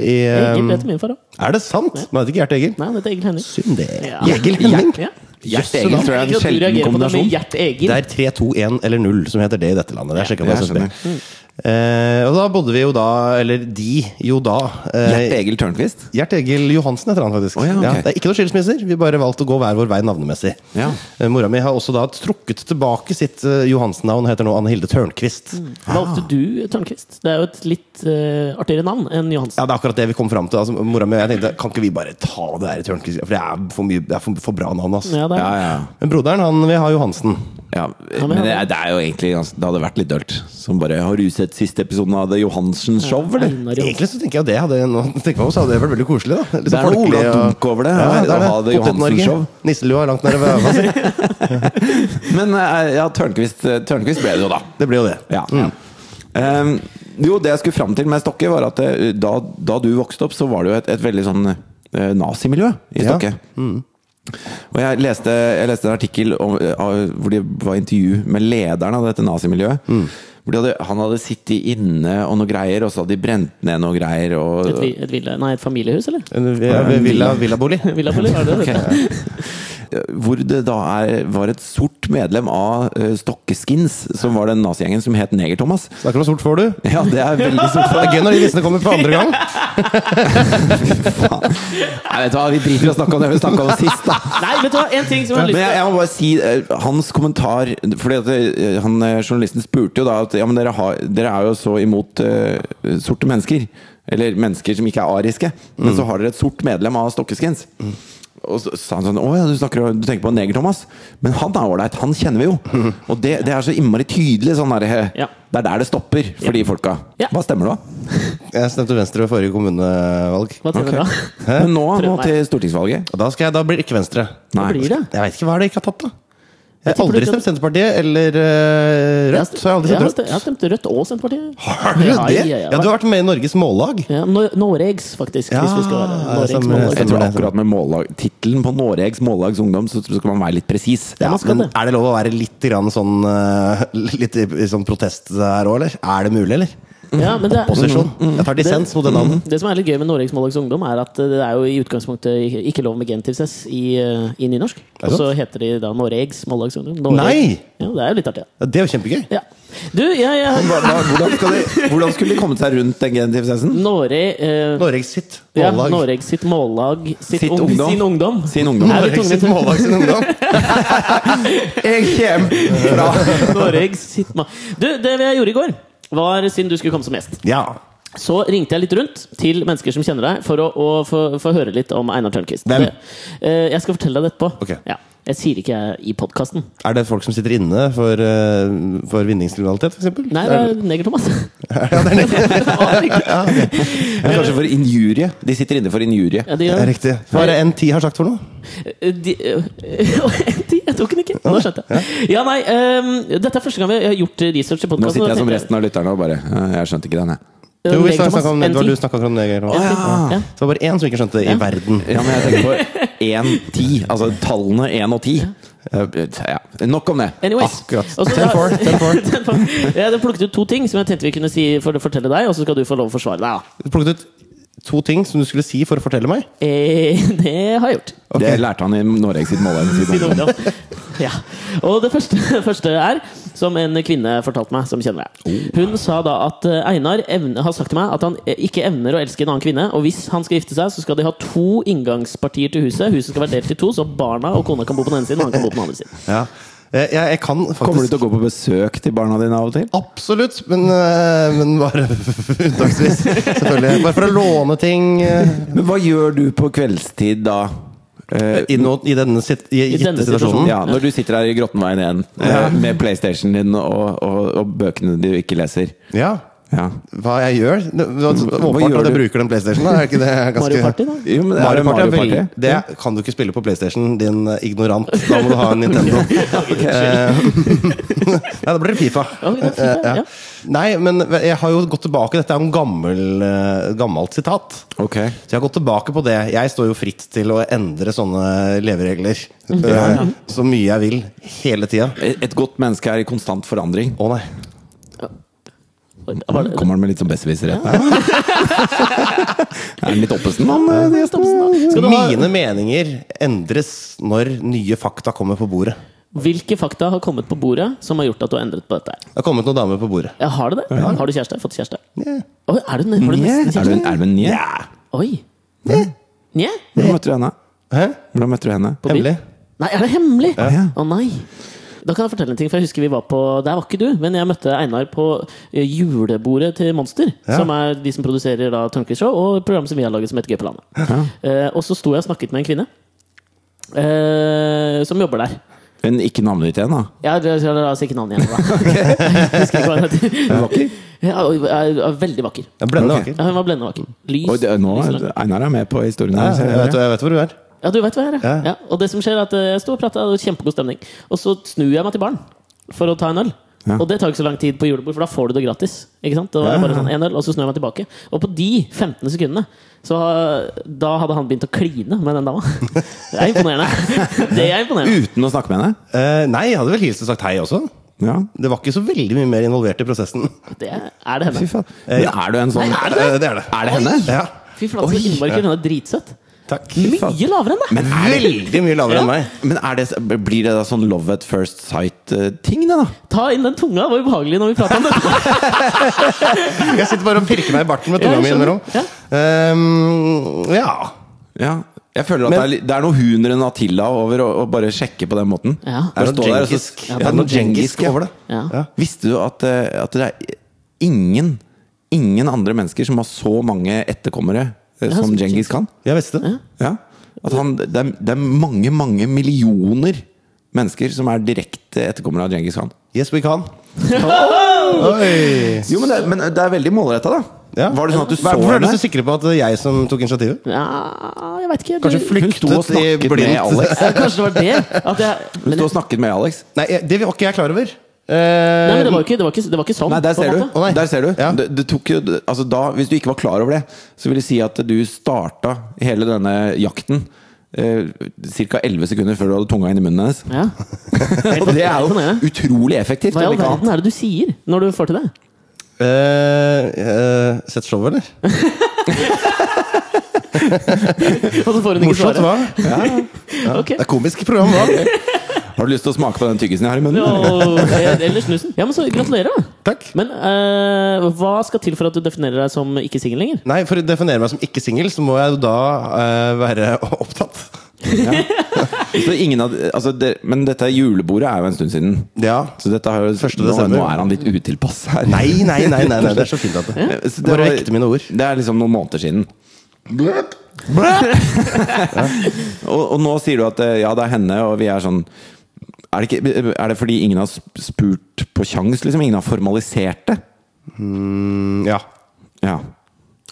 Speaker 1: um,
Speaker 2: eh,
Speaker 3: Egil heter min far òg.
Speaker 2: Er det sant? Man heter ikke Gjert Egil.
Speaker 3: Nei, han heter Egil Henning.
Speaker 2: Synd det.
Speaker 3: Ja.
Speaker 2: Egil Henning.
Speaker 3: Ja.
Speaker 1: Gjert Egil tror jeg er
Speaker 3: Ikke
Speaker 1: en
Speaker 3: at du
Speaker 1: sjelden
Speaker 3: reagerer på det
Speaker 1: kombinasjon.
Speaker 3: med Gjert Egil.
Speaker 2: Det er 3, 2, 1 eller 0 som heter det i dette landet. Det er sjekket
Speaker 1: Ja, sånn,
Speaker 2: på
Speaker 1: jeg
Speaker 2: SSB. Eh, og da bodde vi jo da, eller de jo da eh,
Speaker 1: Gjert Egil Tørnquist?
Speaker 2: Gjert Egil Johansen heter han faktisk.
Speaker 1: Å ja, ok.
Speaker 2: det er ikke noen skilsmisser. Vi bare valgte å gå hver vår vei navnemessig.
Speaker 1: Ja.
Speaker 2: Eh, Mora mi har også da trukket tilbake sitt eh, Johansen-navn, heter nå Anne Hilde Tørnquist.
Speaker 3: Valgte
Speaker 1: Ah.
Speaker 3: du Tørnquist? Det er jo et litt eh, artigere navn enn Johansen.
Speaker 2: Ja, det er akkurat det vi kom fram til. Altså, mora mi og jeg tenkte, kan ikke vi bare ta det der Tørnquist? For det er for, mye, det er for, for bra navn, ass.
Speaker 3: Ja, det
Speaker 1: Ja,
Speaker 3: er.
Speaker 1: ja.
Speaker 2: Men broderen, han vil ha Johansen.
Speaker 1: Ja,
Speaker 3: men
Speaker 1: men det
Speaker 3: han-
Speaker 1: er, det er jo egentlig ganske, Det hadde vært litt dølt. Som bare Har du sett siste episoden av The Johansen Show, eller?
Speaker 3: Einar Johansen.
Speaker 2: Egentlig så tenker jeg at det hadde, nå tenker jeg meg om, så hadde det vært veldig koselig, da. Litt sånn
Speaker 1: Det er noe
Speaker 2: folkelig
Speaker 1: Ola
Speaker 2: og-
Speaker 1: Dunk over det,
Speaker 2: Ja, det
Speaker 1: å
Speaker 2: er det.
Speaker 1: ha det Johansen-show.
Speaker 2: Potet-Norge. Nisselua langt nede ved øva si.
Speaker 1: Men eh, ja, Tørnquist, eh, Tørnquist ble det jo, da.
Speaker 2: Det blir jo det.
Speaker 1: Ja. Ehm, jo, det jeg skulle fram til med Stokke, var at eh, da, da du vokste opp, så var det jo et, et veldig sånn eh, nazimiljø i
Speaker 2: Ja.
Speaker 1: Stokke. Og jeg leste, jeg leste en artikkel om, eh, av, hvor det var intervju med lederen av dette nazimiljøet. Hvor de hadde, han hadde sittet inne og noe greier, og så hadde de brent ned noe greier. Og,
Speaker 3: Et, vi- et, villa, nei, et familiehus, eller?
Speaker 2: En- ja, ved Villa, villabolig.
Speaker 3: Villabolig, var det det?
Speaker 1: Ok. Hvor det da er, var et sort medlem av eh, Stokkeskins, som var den nazigjengen som het Neger-Thomas.
Speaker 2: Snakker om sort får du.
Speaker 1: Ja, det er veldig sort.
Speaker 2: Det er gøy når de vitsene kommer på andre gang.
Speaker 1: Nei, vet du hva, vi driter i å snakke om det vi snakka om sist, da.
Speaker 3: Nei, vet du hva, en ting som jeg har
Speaker 1: Men
Speaker 3: lyst
Speaker 1: jeg,
Speaker 3: til
Speaker 1: jeg må bare si eh, hans kommentar Fordi at eh, han, eh, Journalisten spurte jo da at ja, men dere, har, dere er jo så imot eh, sorte mennesker. Eller mennesker som ikke er ariske. Men
Speaker 3: Mm.
Speaker 1: så har dere et sort medlem av Stokkeskins. Og så sa han sånn Å ja, du, snakker, du tenker på Neger-Thomas? Men han er ålreit, han kjenner vi jo. Og det, det er så innmari tydelig. Sånn der, eh,
Speaker 3: Mm. Ja.
Speaker 1: Det er der det stopper for de folka.
Speaker 3: Ja.
Speaker 1: Hva stemmer du, da?
Speaker 2: Jeg stemte Venstre ved forrige kommunevalg.
Speaker 3: Hva
Speaker 1: Ok.
Speaker 3: tror du da?
Speaker 1: Men nå, nå
Speaker 3: Prøv meg.
Speaker 1: til stortingsvalget.
Speaker 2: Og da, skal jeg, da blir det ikke Venstre.
Speaker 3: Hva
Speaker 1: Nei.
Speaker 3: blir det?
Speaker 2: Jeg veit ikke hva er det jeg ikke har tatt, da. Jeg har aldri
Speaker 3: tipper du-
Speaker 2: stemt Senterpartiet eller eh,
Speaker 3: Jeg har
Speaker 2: Rødt.
Speaker 3: stemt-
Speaker 2: Så jeg har aldri
Speaker 3: jeg
Speaker 2: stemt
Speaker 3: har
Speaker 2: Rødt.
Speaker 3: stemt- Jeg har stemt Rødt og Senterpartiet.
Speaker 2: Har du det?
Speaker 3: Ja, ja, ja.
Speaker 2: Ja, du har vært med i Norges mållag.
Speaker 3: Ja, Nor- Noregs, faktisk.
Speaker 2: Ja,
Speaker 3: hvis vi skal være
Speaker 2: ja,
Speaker 3: Noregs
Speaker 2: stemmer,
Speaker 3: mållag.
Speaker 1: Jeg tror
Speaker 2: Stemmer det,
Speaker 1: akkurat med mållag, tittelen på Noregs Mållags Ungdom, så tror jeg skal man være litt presis.
Speaker 2: Ja,
Speaker 3: man skal
Speaker 2: men
Speaker 3: det.
Speaker 2: er det lov å være litt grann sånn eh, Litt i, i sånn protest her òg, eller? Er det mulig, eller?
Speaker 3: Ja, men det er-
Speaker 2: Posisjon. Jeg tar dissens mot det navnet.
Speaker 3: Mm, Det Mm. som er litt gøy med Noregs Mållags Ungdom, er at eh, det er jo i utgangspunktet ikke lov med gentilsess i, eh, i nynorsk.
Speaker 2: det
Speaker 3: Og så heter de da Noregs Mållags Ungdom. Noreg.
Speaker 2: Nei!
Speaker 3: Ja, det er jo litt artig.
Speaker 2: Ja, Det er jo kjempegøy.
Speaker 3: Ja. Du, jeg, jeg
Speaker 1: Hva- hva- Hvordan, skal de, hvordan skulle de kommet seg rundt den genitivsessen?
Speaker 3: Noreg eh,
Speaker 2: Norges sitt
Speaker 3: ja,
Speaker 2: mållag.
Speaker 3: Noreg sitt mållag sitt,
Speaker 1: Sitt
Speaker 3: ung,
Speaker 1: ungdom.
Speaker 3: Sin ungdom.
Speaker 1: Sin ungdom.
Speaker 3: Er litt
Speaker 2: Norges sitt
Speaker 3: tungvint.
Speaker 2: mållag sin ungdom.
Speaker 1: Jeg kommer fra
Speaker 3: Noreg sitt ma- Du, det jeg gjorde i går, var siden du skulle komme som gjest.
Speaker 2: Ja.
Speaker 3: Så ringte jeg litt rundt til mennesker som kjenner deg, for å, å få, få høre litt om Einar Tørnquist.
Speaker 2: Hvem?
Speaker 3: Det- eh, jeg skal fortelle deg det etterpå.
Speaker 2: Ok.
Speaker 3: Ja. Jeg sier ikke jeg i podkasten.
Speaker 2: Er det folk som sitter inne for, eh, for vinningskriminalitet, f.eks.?
Speaker 3: Nei, det er Neger Thomas.
Speaker 2: Ja, det er riktig.
Speaker 3: ja,
Speaker 1: Kanskje for injurie. De sitter inne for injurie.
Speaker 3: de
Speaker 2: Det
Speaker 3: gjør
Speaker 2: er
Speaker 3: det.
Speaker 2: riktig. Hva er det NT har sagt for noe?
Speaker 3: Eh, De, eh, de, jeg tok den ikke. Nå skjønte jeg. Ja, nei, eh, dette er første gang vi har gjort research i podkasten.
Speaker 1: Nå sitter jeg som resten av lytterne og bare øh, Jeg skjønte ikke den, jeg.
Speaker 3: eh,
Speaker 2: Jo, vi snakket om, det var du snakka om det. Geir.
Speaker 1: ja.
Speaker 3: ja.
Speaker 2: Det var bare én som ikke skjønte det i verden.
Speaker 1: Ja, men jeg tenker på 1-10. Altså tallene 1 og 10. Ja. Nok om det.
Speaker 3: Anyways.
Speaker 2: Akkurat.
Speaker 3: Og så-
Speaker 2: Ten for, ten for.
Speaker 3: Ten for. Jeg hadde plukket ut to ting som jeg tenkte vi kunne si for, fortelle deg, og så skal du få lov å forsvare deg. da.
Speaker 2: Du plukket ut to ting som du skulle si for å fortelle meg.
Speaker 3: Eh, det har jeg gjort.
Speaker 1: Ah, Det lærte han i Noreg sitt mållag.
Speaker 3: Siden ungdom. Ja. Og det første, første er, som en kvinne fortalte meg, som kjenner deg. Hun sa da at eh, Einar evne, har sagt til meg at han eh, ikke evner å elske en annen kvinne. Og hvis han skal gifte seg, så skal de ha to inngangspartier til huset. Huset skal være delt i to, så barna og kona kan bo på den ene siden, og han kan bo på den andre siden.
Speaker 2: Eh, Ja. Jeg, jeg, jeg kan faktisk
Speaker 1: Kommer du til å gå på besøk til barna dine av og til?
Speaker 2: Absolutt, men, eh, men bare unntaksvis. Selvfølgelig. Bare for å låne ting eh,
Speaker 1: Men hva gjør du på kveldstid da? Eh,
Speaker 2: i, no, i denne, sit, i, gitte
Speaker 3: denne
Speaker 2: situasjonen.
Speaker 3: situasjonen,
Speaker 1: ja, når du sitter her i Grottenveien 1 eh, med PlayStation din og, og, og bøkene du ikke leser.
Speaker 2: Ja.
Speaker 1: Ja.
Speaker 2: Hva jeg gjør? Det, det, det,
Speaker 1: Hva
Speaker 2: åpenbart
Speaker 1: gjør
Speaker 2: at jeg
Speaker 1: du?
Speaker 2: bruker den PlayStation. Da. Er ikke det
Speaker 3: Mario
Speaker 2: ganske
Speaker 3: Party, da?
Speaker 1: Jo, men er
Speaker 2: Mario
Speaker 1: det Mario
Speaker 2: Party?
Speaker 1: Party?
Speaker 2: er vel- Det kan du ikke spille på PlayStation, din eh, ignorant. Da må du ha en Nintendo. Eh, Nei, da blir det Fifa.
Speaker 3: Ja, det er Fifa,
Speaker 2: Eh,
Speaker 3: ja.
Speaker 2: Nei, men jeg har jo gått tilbake. Dette er jo en gammel, eh, gammelt sitat.
Speaker 1: Ok.
Speaker 2: Så jeg har gått tilbake på det. Jeg står jo fritt til å endre sånne leveregler eh, så mye jeg vil. Hele tida.
Speaker 1: Et et godt menneske er i konstant forandring.
Speaker 2: Å nei.
Speaker 3: Var det-
Speaker 1: Kommer han med litt sånn besserwisser? Ja. er han litt oppesen, han? eh, gjesten?
Speaker 3: Skal du ha-
Speaker 2: Mine meninger endres når nye fakta kommer på bordet.
Speaker 3: Hvilke fakta har kommet på bordet som har gjort at du har endret på dette? her?
Speaker 2: Det har kommet noen damer på bordet.
Speaker 3: Ja, har du det? Har du kjæreste? Fått kjæreste?
Speaker 2: Yeah.
Speaker 3: Oi, er du, har du
Speaker 1: Er
Speaker 3: nesten
Speaker 1: du
Speaker 3: kjæreste?
Speaker 1: en- er du en nye?
Speaker 3: Oi. Nje?
Speaker 1: Hvordan møtte du henne?
Speaker 2: Hæ?
Speaker 1: Hvordan møtte du henne?
Speaker 3: by?
Speaker 2: Hemmelig?
Speaker 3: Nei, er det hemmelig? Å
Speaker 1: Ja.
Speaker 3: nei. Da kan jeg fortelle en ting, for jeg husker vi var på Der var ikke du, men jeg møtte Einar på eh, julebordet til Monster.
Speaker 2: Ja.
Speaker 3: Som er de som produserer da Tørnquist Show, og programmet som vi har laget som heter Gøy på landet. Eh, og så sto jeg og snakket med en kvinne eh, som jobber der.
Speaker 1: Men ikke navnet ditt igjen, da?
Speaker 3: Ja, det skal jeg si ikke navnet igjen, da. Jeg husker ikke hva hun heter.
Speaker 1: Vakker?
Speaker 3: Ja, og er- er veldig vakker.
Speaker 2: Jeg blender
Speaker 1: Ok.
Speaker 2: vakker.
Speaker 3: Ja, hun var blendende vakker. Lys.
Speaker 1: Oi, det, nå,
Speaker 3: lys lang.
Speaker 1: Einar er med på historien.
Speaker 2: Ja,
Speaker 1: her, ser
Speaker 2: jeg,
Speaker 1: jeg.
Speaker 2: vet, jeg vet hvor du er.
Speaker 3: Ja, du vet hva jeg er. Ja.
Speaker 2: Ja.
Speaker 3: Ja, og det som skjer er at eh, jeg står og prater, og det er kjempegod stemning. Og så snur jeg meg til baren for å ta en øl.
Speaker 1: Ja.
Speaker 3: Og det tar ikke så lang tid på julebord, for da får du det gratis. Ikke sant? Det var bare sånn en øl, Og så snur jeg meg tilbake. Og på de 15 sekundene så har- da hadde han begynt å kline med den dama. Det er imponerende. Det er imponerende.
Speaker 1: Uten å snakke med henne?
Speaker 2: Eh, nei, jeg hadde vel hilst og sagt hei også.
Speaker 1: Ja.
Speaker 2: Det var ikke så veldig mye mer involvert i prosessen.
Speaker 3: Det er, er det
Speaker 1: Fy
Speaker 3: henne.
Speaker 1: faen. Men er du en sånn
Speaker 2: Eh, det er det.
Speaker 1: Er det henne?
Speaker 2: Ja,
Speaker 3: Fy flate, så innmari kul. Hun er dritsøt.
Speaker 2: takk.
Speaker 3: Mye lavere enn deg!
Speaker 2: Veldig mye lavere enn meg.
Speaker 1: Men er det, blir det da sånn love at first sight-ting, det, da?
Speaker 3: Ta inn den tunga, det var ubehagelig når vi prata om det.
Speaker 2: Jeg sitter bare og pirker meg i barten med
Speaker 3: Ja,
Speaker 2: tunga mi
Speaker 3: jeg
Speaker 2: innimellom.
Speaker 3: skjønner.
Speaker 2: Ehm, ja.
Speaker 1: Ja. Jeg føler at
Speaker 2: Men-
Speaker 1: det, er, li- det er noe hunder enn Attila over å, å bare sjekke på den måten.
Speaker 3: Ja.
Speaker 1: Bare
Speaker 2: Det er
Speaker 1: stå
Speaker 2: noe
Speaker 1: der og så-
Speaker 2: djengisk.
Speaker 1: Ja, det er noe djengisk
Speaker 2: ja.
Speaker 1: over det.
Speaker 3: Ja.
Speaker 2: Ja.
Speaker 1: Visste du at, eh, at det er ingen, ingen andre mennesker som har så mange etterkommere eh,
Speaker 3: Ja,
Speaker 1: som
Speaker 3: som
Speaker 1: Djengis Khan?
Speaker 2: Jeg visste det.
Speaker 1: Ja. At han, det, er, det er mange, mange millioner mennesker som er direkte etterkommere av Djengis Khan.
Speaker 2: Yes, we can. Oi.
Speaker 1: Jo, men det, er- men det er veldig målretta, da.
Speaker 2: Ja.
Speaker 1: Var det sånn at du
Speaker 2: Hva-
Speaker 1: så
Speaker 2: Hvorfor er du
Speaker 1: henne?
Speaker 2: så sikre på at det er jeg som tok initiativet?
Speaker 3: Ja, jeg veit ikke.
Speaker 2: Kanskje
Speaker 3: Det-
Speaker 2: fly-
Speaker 1: Hun sto og
Speaker 2: flyktet i
Speaker 1: snakket med
Speaker 2: blindt.
Speaker 1: Alex.
Speaker 3: Ja, Kanskje det var det? At jeg,
Speaker 1: Hun
Speaker 3: men,
Speaker 1: sto og snakket med Alex.
Speaker 2: Nei, jeg- det var ikke jeg klar over. Eh,
Speaker 3: nei, men det var jo ikke, det var ikke, det var ikke sånn.
Speaker 1: Eh, Nei, der
Speaker 3: på en
Speaker 1: ser du.
Speaker 3: måte.
Speaker 2: Å, nei.
Speaker 1: Der ser du.
Speaker 2: Ja.
Speaker 1: Det, det tok jo, altså da, hvis du ikke var klar over det, så vil det si at du starta hele denne jakten eh, ca. 11 sekunder før du hadde tunga inn i munnen hennes.
Speaker 3: Ja.
Speaker 1: Og det er jo
Speaker 3: Imponerende.
Speaker 1: utrolig effektivt.
Speaker 3: Hva
Speaker 1: om
Speaker 3: i all
Speaker 1: ikke annet.
Speaker 3: verden er det du sier når du får til det?
Speaker 2: Eh, eh, sett showet, eller?
Speaker 3: Og så får hun ikke
Speaker 2: Morsomt,
Speaker 3: svare.
Speaker 2: hva?
Speaker 3: Ok.
Speaker 2: Det er komisk program, hva?
Speaker 1: Har du lyst til å smake på den tyggisen jeg har i munnen?
Speaker 3: Jo, eh, Eller snusen. Ja, men så gratulerer, da.
Speaker 2: Takk.
Speaker 3: Men eh, hva skal til for at du definerer deg som ikke singel lenger?
Speaker 2: Nei, for å definere meg som ikke singel, så må jeg jo da eh, være opptatt.
Speaker 1: Så ingen av, altså det, men dette julebordet er jo en stund siden.
Speaker 2: Ja.
Speaker 1: Så dette har jo,
Speaker 2: Første
Speaker 1: nå,
Speaker 2: desember.
Speaker 1: nå er han litt utilpass her.
Speaker 2: Nei, nei, nei, nei, nei, det er så fint at det
Speaker 1: Eh, Så det
Speaker 2: Bare
Speaker 1: var-
Speaker 2: vekte mine ord.
Speaker 1: Det er liksom noen måneder siden. og, og nå sier du at eh, ja, det er henne, og vi er sånn Er det, ikke, er det fordi ingen har sp- spurt på kjangs, liksom? Ingen har formalisert det?
Speaker 2: Mm, ja.
Speaker 1: Ja.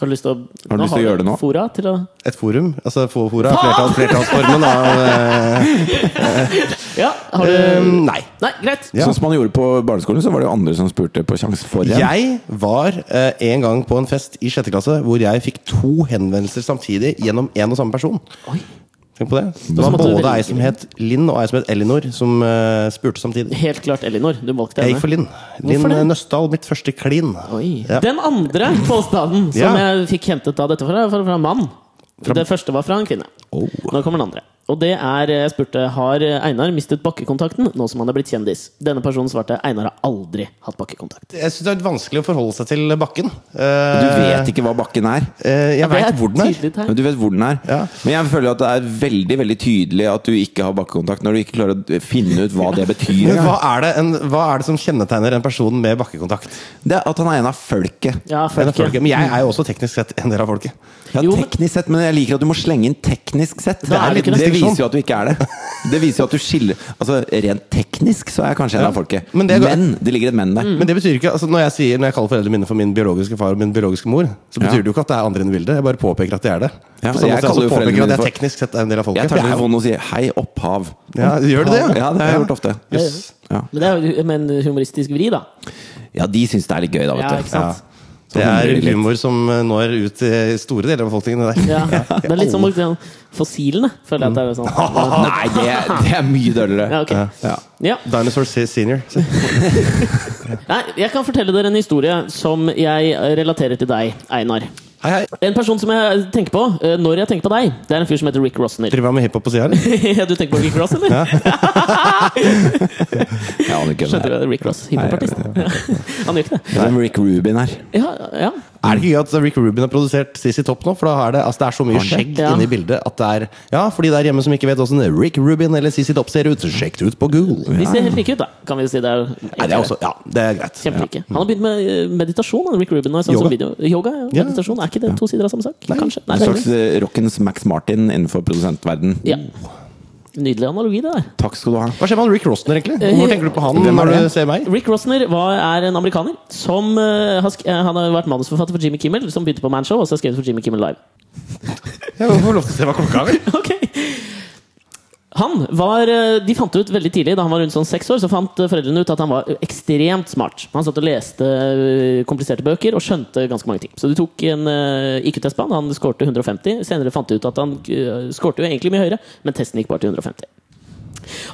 Speaker 3: Har du lyst til å,
Speaker 1: Har du lyst til å
Speaker 3: har
Speaker 1: gjøre det nå?
Speaker 3: Fora til å
Speaker 2: Et forum. Altså få fora. Flertall, flertallsformen av eh,
Speaker 3: Ja, har du
Speaker 2: eh, Nei.
Speaker 3: Nei, greit.
Speaker 2: Ja.
Speaker 1: Sånn som man gjorde på barneskolen, så var det jo andre som spurte på kjangs for en.
Speaker 2: Jeg var eh, en gang på en fest i sjette klasse hvor jeg fikk to henvendelser samtidig gjennom én og samme person.
Speaker 3: Oi.
Speaker 2: Tenk på det. Det
Speaker 3: Så
Speaker 2: var
Speaker 3: måtte du
Speaker 2: både
Speaker 3: velge.
Speaker 2: ei som het Linn, og ei som het Elinor, som eh, spurte samtidig.
Speaker 3: Helt klart Elinor. Du valgte
Speaker 2: Jeg gikk
Speaker 3: henne.
Speaker 2: for Linn. Linn
Speaker 3: det?
Speaker 2: Nøstdal, mitt første klin.
Speaker 3: Oi.
Speaker 2: Ja.
Speaker 3: Den andre påstanden som
Speaker 2: Ja.
Speaker 3: jeg fikk hentet av dette fra, fra, fra en mann Det første var fra en kvinne. Nå kommer den andre. Og det er Jeg spurte har Einar mistet bakkekontakten nå som han er blitt kjendis. Denne personen svarte Einar har aldri hatt bakkekontakt.
Speaker 2: Jeg syns det er litt vanskelig å forholde seg til bakken.
Speaker 1: Du vet
Speaker 2: eh,
Speaker 1: ikke hva bakken er.
Speaker 2: Jeg veit hvor den er.
Speaker 1: Men du vet hvor den er.
Speaker 2: Ja.
Speaker 1: Men jeg føler at det er veldig veldig tydelig at du ikke har bakkekontakt, når du ikke klarer å finne ut hva det betyr.
Speaker 2: Men hva er, det en, hva er det som kjennetegner en person med bakkekontakt?
Speaker 1: Det er at han er en av folket. Mm.
Speaker 2: En
Speaker 3: Ja,
Speaker 2: av folket.
Speaker 3: folket.
Speaker 2: Men jeg er jo også teknisk sett en del av folket.
Speaker 1: Ja,
Speaker 3: Jo, men-
Speaker 1: teknisk sett, men jeg liker at du må slenge inn teknisk sett. Det,
Speaker 3: Da er
Speaker 1: er
Speaker 3: det
Speaker 1: litt,
Speaker 3: ikke
Speaker 1: det
Speaker 3: det.
Speaker 1: viser jo at du ikke er det. Det viser jo at du skiller Altså, rent teknisk så er jeg kanskje en av folket.
Speaker 2: men
Speaker 1: Men
Speaker 2: det
Speaker 1: det,
Speaker 2: går-
Speaker 1: ligger et men
Speaker 3: Mm.
Speaker 1: der.
Speaker 2: Men det betyr ikke, altså når jeg, sier, når jeg kaller foreldrene mine for min biologiske far og min biologiske mor, så betyr
Speaker 1: Ja.
Speaker 2: det jo ikke at det er andre enn bildet. Jeg bare påpeker at det er det.
Speaker 1: Ja, jeg
Speaker 2: På samme måte
Speaker 1: kaller jo
Speaker 2: som jeg påpeker
Speaker 1: foreldrene
Speaker 2: at
Speaker 1: mine
Speaker 2: jeg
Speaker 1: for-
Speaker 2: teknisk sett er en del av folket.
Speaker 1: Jeg tar
Speaker 2: Det er jo-
Speaker 1: telefonen og sier 'hei, opphav'.
Speaker 2: Ja, gjør det det?
Speaker 1: Ja, det har jeg gjort ofte.
Speaker 2: Jøss.
Speaker 1: Ja,
Speaker 3: Men det er jo med en humoristisk vri, da.
Speaker 1: ja de syns det er litt gøy, da, vet
Speaker 3: Ja,
Speaker 1: du.
Speaker 3: ikke sant?
Speaker 1: Så
Speaker 2: Det
Speaker 1: humrer de
Speaker 2: er
Speaker 1: litt.
Speaker 2: humor som eh, når ut til store deler av befolkningen. Det der.
Speaker 3: Ja. Det er litt som liksom, fossilene, føler jeg at det er sånn.
Speaker 1: Mm. Nei, det, er- det er mye døllere.
Speaker 3: Ja, ok.
Speaker 1: Ja.
Speaker 3: Ja.
Speaker 2: Dinosaur Se- senior.
Speaker 3: Nei, jeg kan fortelle dere en historie som jeg relaterer til deg, Einar.
Speaker 2: Hei, hei.
Speaker 3: En person som jeg tenker på eh, når jeg tenker på deg, det er en fyr som heter Rick Rossner.
Speaker 2: Driver han med hiphop på sida, eller?
Speaker 3: du tenker på Rick Ross, eller?
Speaker 1: Jeg aner ikke hvem det
Speaker 3: Skjønte
Speaker 1: er.
Speaker 3: du det? Rick Ross, hiphopartist. Han gjør ikke det.
Speaker 1: Det er Rick Rubin her.
Speaker 3: Ja, ja.
Speaker 2: Er det ikke gøy at Rick Rubin har produsert CC Topp nå? For da er det, altså det er så mye skjegg
Speaker 3: Ja.
Speaker 2: inni bildet at det er Ja, for de der hjemme som ikke vet åssen Rick Rubin eller CC Topp ser ut, sjekk det ut på Google.
Speaker 3: De ser helt like ut, da. Kan vi si det er
Speaker 2: Nei, det er også, ja, det er greit.
Speaker 3: Kjempelike. Han har begynt med eh, meditasjon. han, Rick Rubin, og sånn
Speaker 2: Yoga.
Speaker 3: som video. Yoga ja.
Speaker 2: Ja.
Speaker 3: meditasjon. Er ikke det to sider av samme sak? Kanskje. Nei,
Speaker 1: En
Speaker 3: det er
Speaker 1: slags eh, rockens Max Martin innenfor produsentverden
Speaker 3: ikke. ja. Nydelig analogi, det der.
Speaker 1: Takk skal du ha.
Speaker 2: Hva skjer med han Rick Rossner, egentlig?
Speaker 3: Eh,
Speaker 2: Hvor tenker du på han
Speaker 1: Hvem er
Speaker 2: når du
Speaker 1: det?
Speaker 2: ser meg?
Speaker 3: Rick Rossner var, er en amerikaner som eh, har, sk eh, han har vært manusforfatter for Jimmy Kimmel, som begynte på Manshow, og så har skrevet for Jimmy Kimmel Live.
Speaker 2: Jeg må få lov til å se hva klokka er.
Speaker 3: Ok han var, eh, De fant ut veldig tidlig, da han var rundt sånn seks år, så fant eh, foreldrene ut at han var ekstremt smart. Han satt og leste eh, kompliserte bøker og skjønte ganske mange ting. Så de tok en eh, IQ-test på han, han skårte 150. Senere fant de ut at han eh, skårte jo egentlig mye høyere, men testen gikk bare til 150.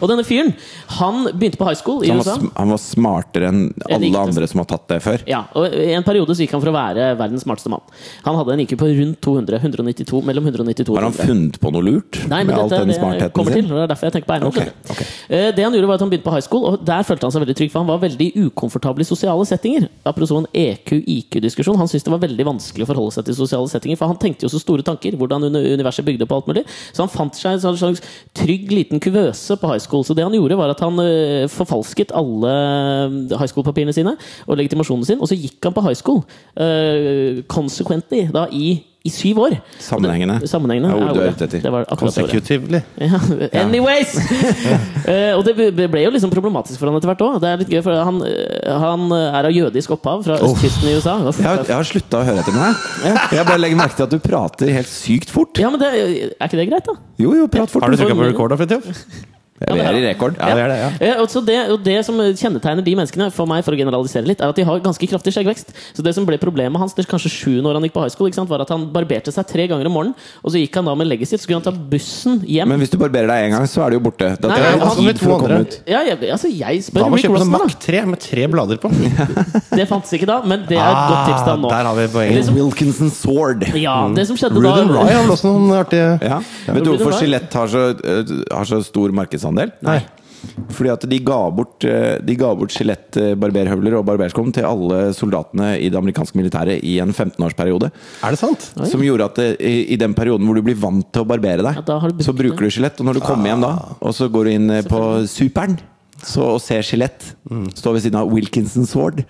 Speaker 3: Og denne fyren, han begynte på high school i
Speaker 1: Han var,
Speaker 3: USA.
Speaker 1: sm- han var smartere enn alle
Speaker 3: riktig.
Speaker 1: andre som har tatt det før.
Speaker 3: Ja, og I en periode så gikk han for å være verdens smarteste mann. Han hadde en IQ på rundt 200. 192, mellom 192 og
Speaker 1: Har han
Speaker 3: 200.
Speaker 1: funnet på noe lurt?
Speaker 3: Nei, men
Speaker 1: med all
Speaker 3: dette
Speaker 1: den
Speaker 3: det jeg
Speaker 1: smartheten
Speaker 3: kommer
Speaker 1: sin?
Speaker 3: til. og Det er derfor jeg tenker på Einar.
Speaker 1: Ok,
Speaker 3: skjønner du. Eh, Det han gjorde var at han begynte på high school, og der følte han seg veldig trygg. For han var veldig ukomfortabel i sosiale settinger. Apropos en E EQ-IQ-diskusjon. Han syntes det var veldig vanskelig å forholde seg til sosiale settinger, for han tenkte jo så store tanker. Hvordan uni- universet bygde på alt mulig. Så han fant seg en sånn slags trygg liten kuvøse fortsatt på high school. Så det han gjorde, var at han eh, forfalsket alle eh, high school-papirene sine og legitimasjonen sin, og så gikk han på high school. eh, consequently, da i, i syv år.
Speaker 1: Sammenhengende.
Speaker 3: Sammenhengende
Speaker 1: Det er ordet du
Speaker 3: er
Speaker 1: er
Speaker 3: ordet.
Speaker 1: ute etter.
Speaker 3: Det var akkurat det ordet.
Speaker 2: Consecutively.
Speaker 3: Ja. Anyways! Eh, og det ble- ble jo liksom problematisk for han etter hvert òg. Det er litt gøy, for han, eh, han er av jødisk opphav, fra østkysten i USA. Uff.
Speaker 1: Jeg har, jeg har slutta å høre etter meg. Jeg bare legger merke til at du prater helt sykt fort.
Speaker 3: Ja, men det, er ikke det greit, da?
Speaker 1: Jo, jo, prat fort.
Speaker 2: Har du trykka på record, da, Fridtjof?
Speaker 1: Ja, vi er i rekord.
Speaker 2: Ja, det er det. ja
Speaker 3: Eh, og så det, og det som kjennetegner de menneskene, for meg for å generalisere litt, er at de har ganske kraftig skjeggvekst. Så det som ble problemet hans det er kanskje sju når han gikk på high school, ikke sant, var at han barberte seg tre ganger om morgenen, og så gikk han da med legget sitt, så skulle han ta bussen hjem.
Speaker 1: Men hvis du barberer deg én gang, så er du jo borte. Da
Speaker 3: Nei,
Speaker 1: tar
Speaker 3: nei,
Speaker 1: det
Speaker 3: han-
Speaker 1: tid for å komme ut.
Speaker 3: ja, jeg, altså, jeg
Speaker 2: Da
Speaker 3: spør
Speaker 2: må vi
Speaker 3: Rick
Speaker 2: kjøpe sånn
Speaker 3: Rossman, da.
Speaker 2: Mac-tre med tre blader på. Ah,
Speaker 3: Det fantes ikke da, men det er et godt tips til han nå.
Speaker 2: Der har vi
Speaker 3: Eller
Speaker 2: poenget.
Speaker 3: så-
Speaker 1: Wilkinson Sword.
Speaker 3: Liksom- Ja, det som skjedde da
Speaker 2: Rudin Rye har vel også noen artige
Speaker 1: Ja. Vet du
Speaker 3: Blir det
Speaker 1: hvorfor
Speaker 3: bra?
Speaker 1: Skjelett har, så, eh, har så stor markedsandel?
Speaker 2: Nei.
Speaker 1: Fordi at de ga bort eh, De ga bort skjelett, eh, barberhøvler og barberskum til alle soldatene i det amerikanske militæret i en 15-årsperiode.
Speaker 2: Er det sant?
Speaker 1: Som gjorde at eh, i, i den perioden hvor du blir vant til å barbere deg,
Speaker 3: Ja, da har du Ah. brukt
Speaker 1: så bruker du skjelett. Og når du kommer hjem da, og så går du inn eh, på Superen så, og ser skjelett,
Speaker 2: Mm.
Speaker 1: står ved siden av Wilkinson Sword,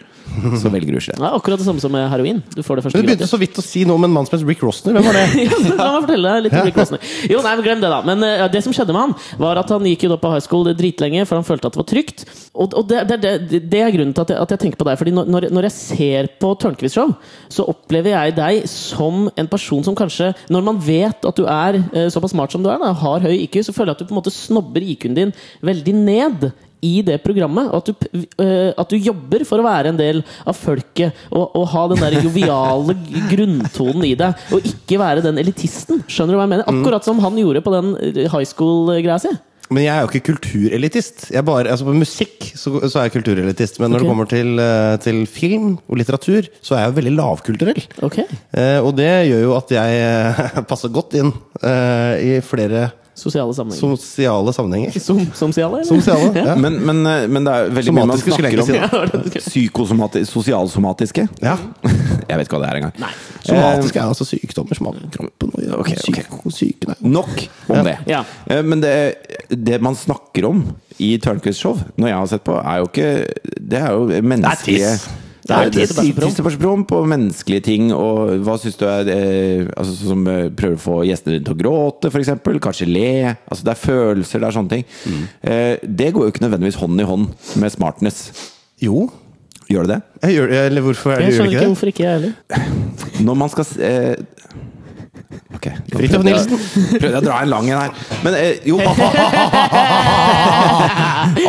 Speaker 1: så velger du skjelett.
Speaker 3: Det er akkurat det samme som med heroin. Du får det første
Speaker 2: Men Du begynte
Speaker 3: gratis.
Speaker 2: så vidt å si noe om en mann som het Rick Rosner. Hvem var det?
Speaker 3: Ja, men La meg fortelle deg litt om Rick Rossner. Jo, nei, men Glem det, da. Men eh, det som skjedde med han, var at han gikk jo da på high school dritlenge, for han følte at det var trygt. Og, og det, det, det, det er grunnen til at jeg, at jeg tenker på deg. Fordi når, når- når jeg ser på Tørnquist-show, så opplever jeg deg som en person som kanskje Når man vet at du er eh, såpass smart som du er, da, har høy IQ, så føler jeg at du på en måte snobber IQ-en din veldig ned i det programmet. og At du, p- øh, at du jobber for å være en del av folket og, og ha den der joviale g- grunntonen i deg. Og ikke være den elitisten. Skjønner du hva jeg mener? Akkurat som han gjorde på den øh, high school-greia si.
Speaker 2: Men jeg er jo ikke kulturelitist. Jeg er bare, altså På musikk så, så er jeg kulturelitist. Men når
Speaker 3: Ok.
Speaker 2: det kommer til, eh, til film og litteratur, så er jeg jo veldig lavkulturell.
Speaker 3: Ok,
Speaker 2: Eh, og det gjør jo at jeg eh, passer godt inn eh, i flere
Speaker 3: Sosiale sammenhenger.
Speaker 2: sosiale sammenhenger.
Speaker 3: Som, som sosiale, eller?
Speaker 2: Sosiale, ja.
Speaker 1: Men, men, eh, men det er veldig mye man
Speaker 2: Somatiske skulle jeg
Speaker 1: snakker om.
Speaker 2: egentlig
Speaker 3: Ja, det var det du skulle-
Speaker 1: Psykosomati- Sosialsomatiske?
Speaker 2: Ja.
Speaker 1: Jeg vet ikke hva det er engang.
Speaker 2: Somatiske er altså sykdommer som har med kroppen å gjøre.
Speaker 1: Ok, ok.
Speaker 2: Syk- syke- nei.
Speaker 1: Nok om det.
Speaker 3: Ja.
Speaker 1: Eh, Men det, det man snakker om i Tørnquist show, når jeg har sett på, er jo ikke Det er jo menneskelige
Speaker 2: tiss.
Speaker 1: Det er
Speaker 3: Det er
Speaker 1: tiss
Speaker 3: tiss-
Speaker 1: tissebæsjeprom på menneskelige ting, og hva syns du er eh, altså, sånn Som eh, prøver å få gjestene dine til å gråte, f.eks. Kanskje le. Altså, det er følelser, det er sånne ting. Eh, det går jo ikke nødvendigvis hånd i hånd med smartness.
Speaker 2: Jo.
Speaker 1: Gjør det det?
Speaker 2: Jeg gjør, eller hvorfor er det,
Speaker 3: Jeg
Speaker 2: gjør ikke
Speaker 3: skjønner ikke
Speaker 2: det?
Speaker 3: hvorfor ikke jeg heller.
Speaker 1: Når man skal s- eh, Ok. nå
Speaker 2: Fridtjof
Speaker 1: prøvde jeg-
Speaker 2: Nilsen.
Speaker 1: Prøvde jeg å dra en lang en her. Men eh, jo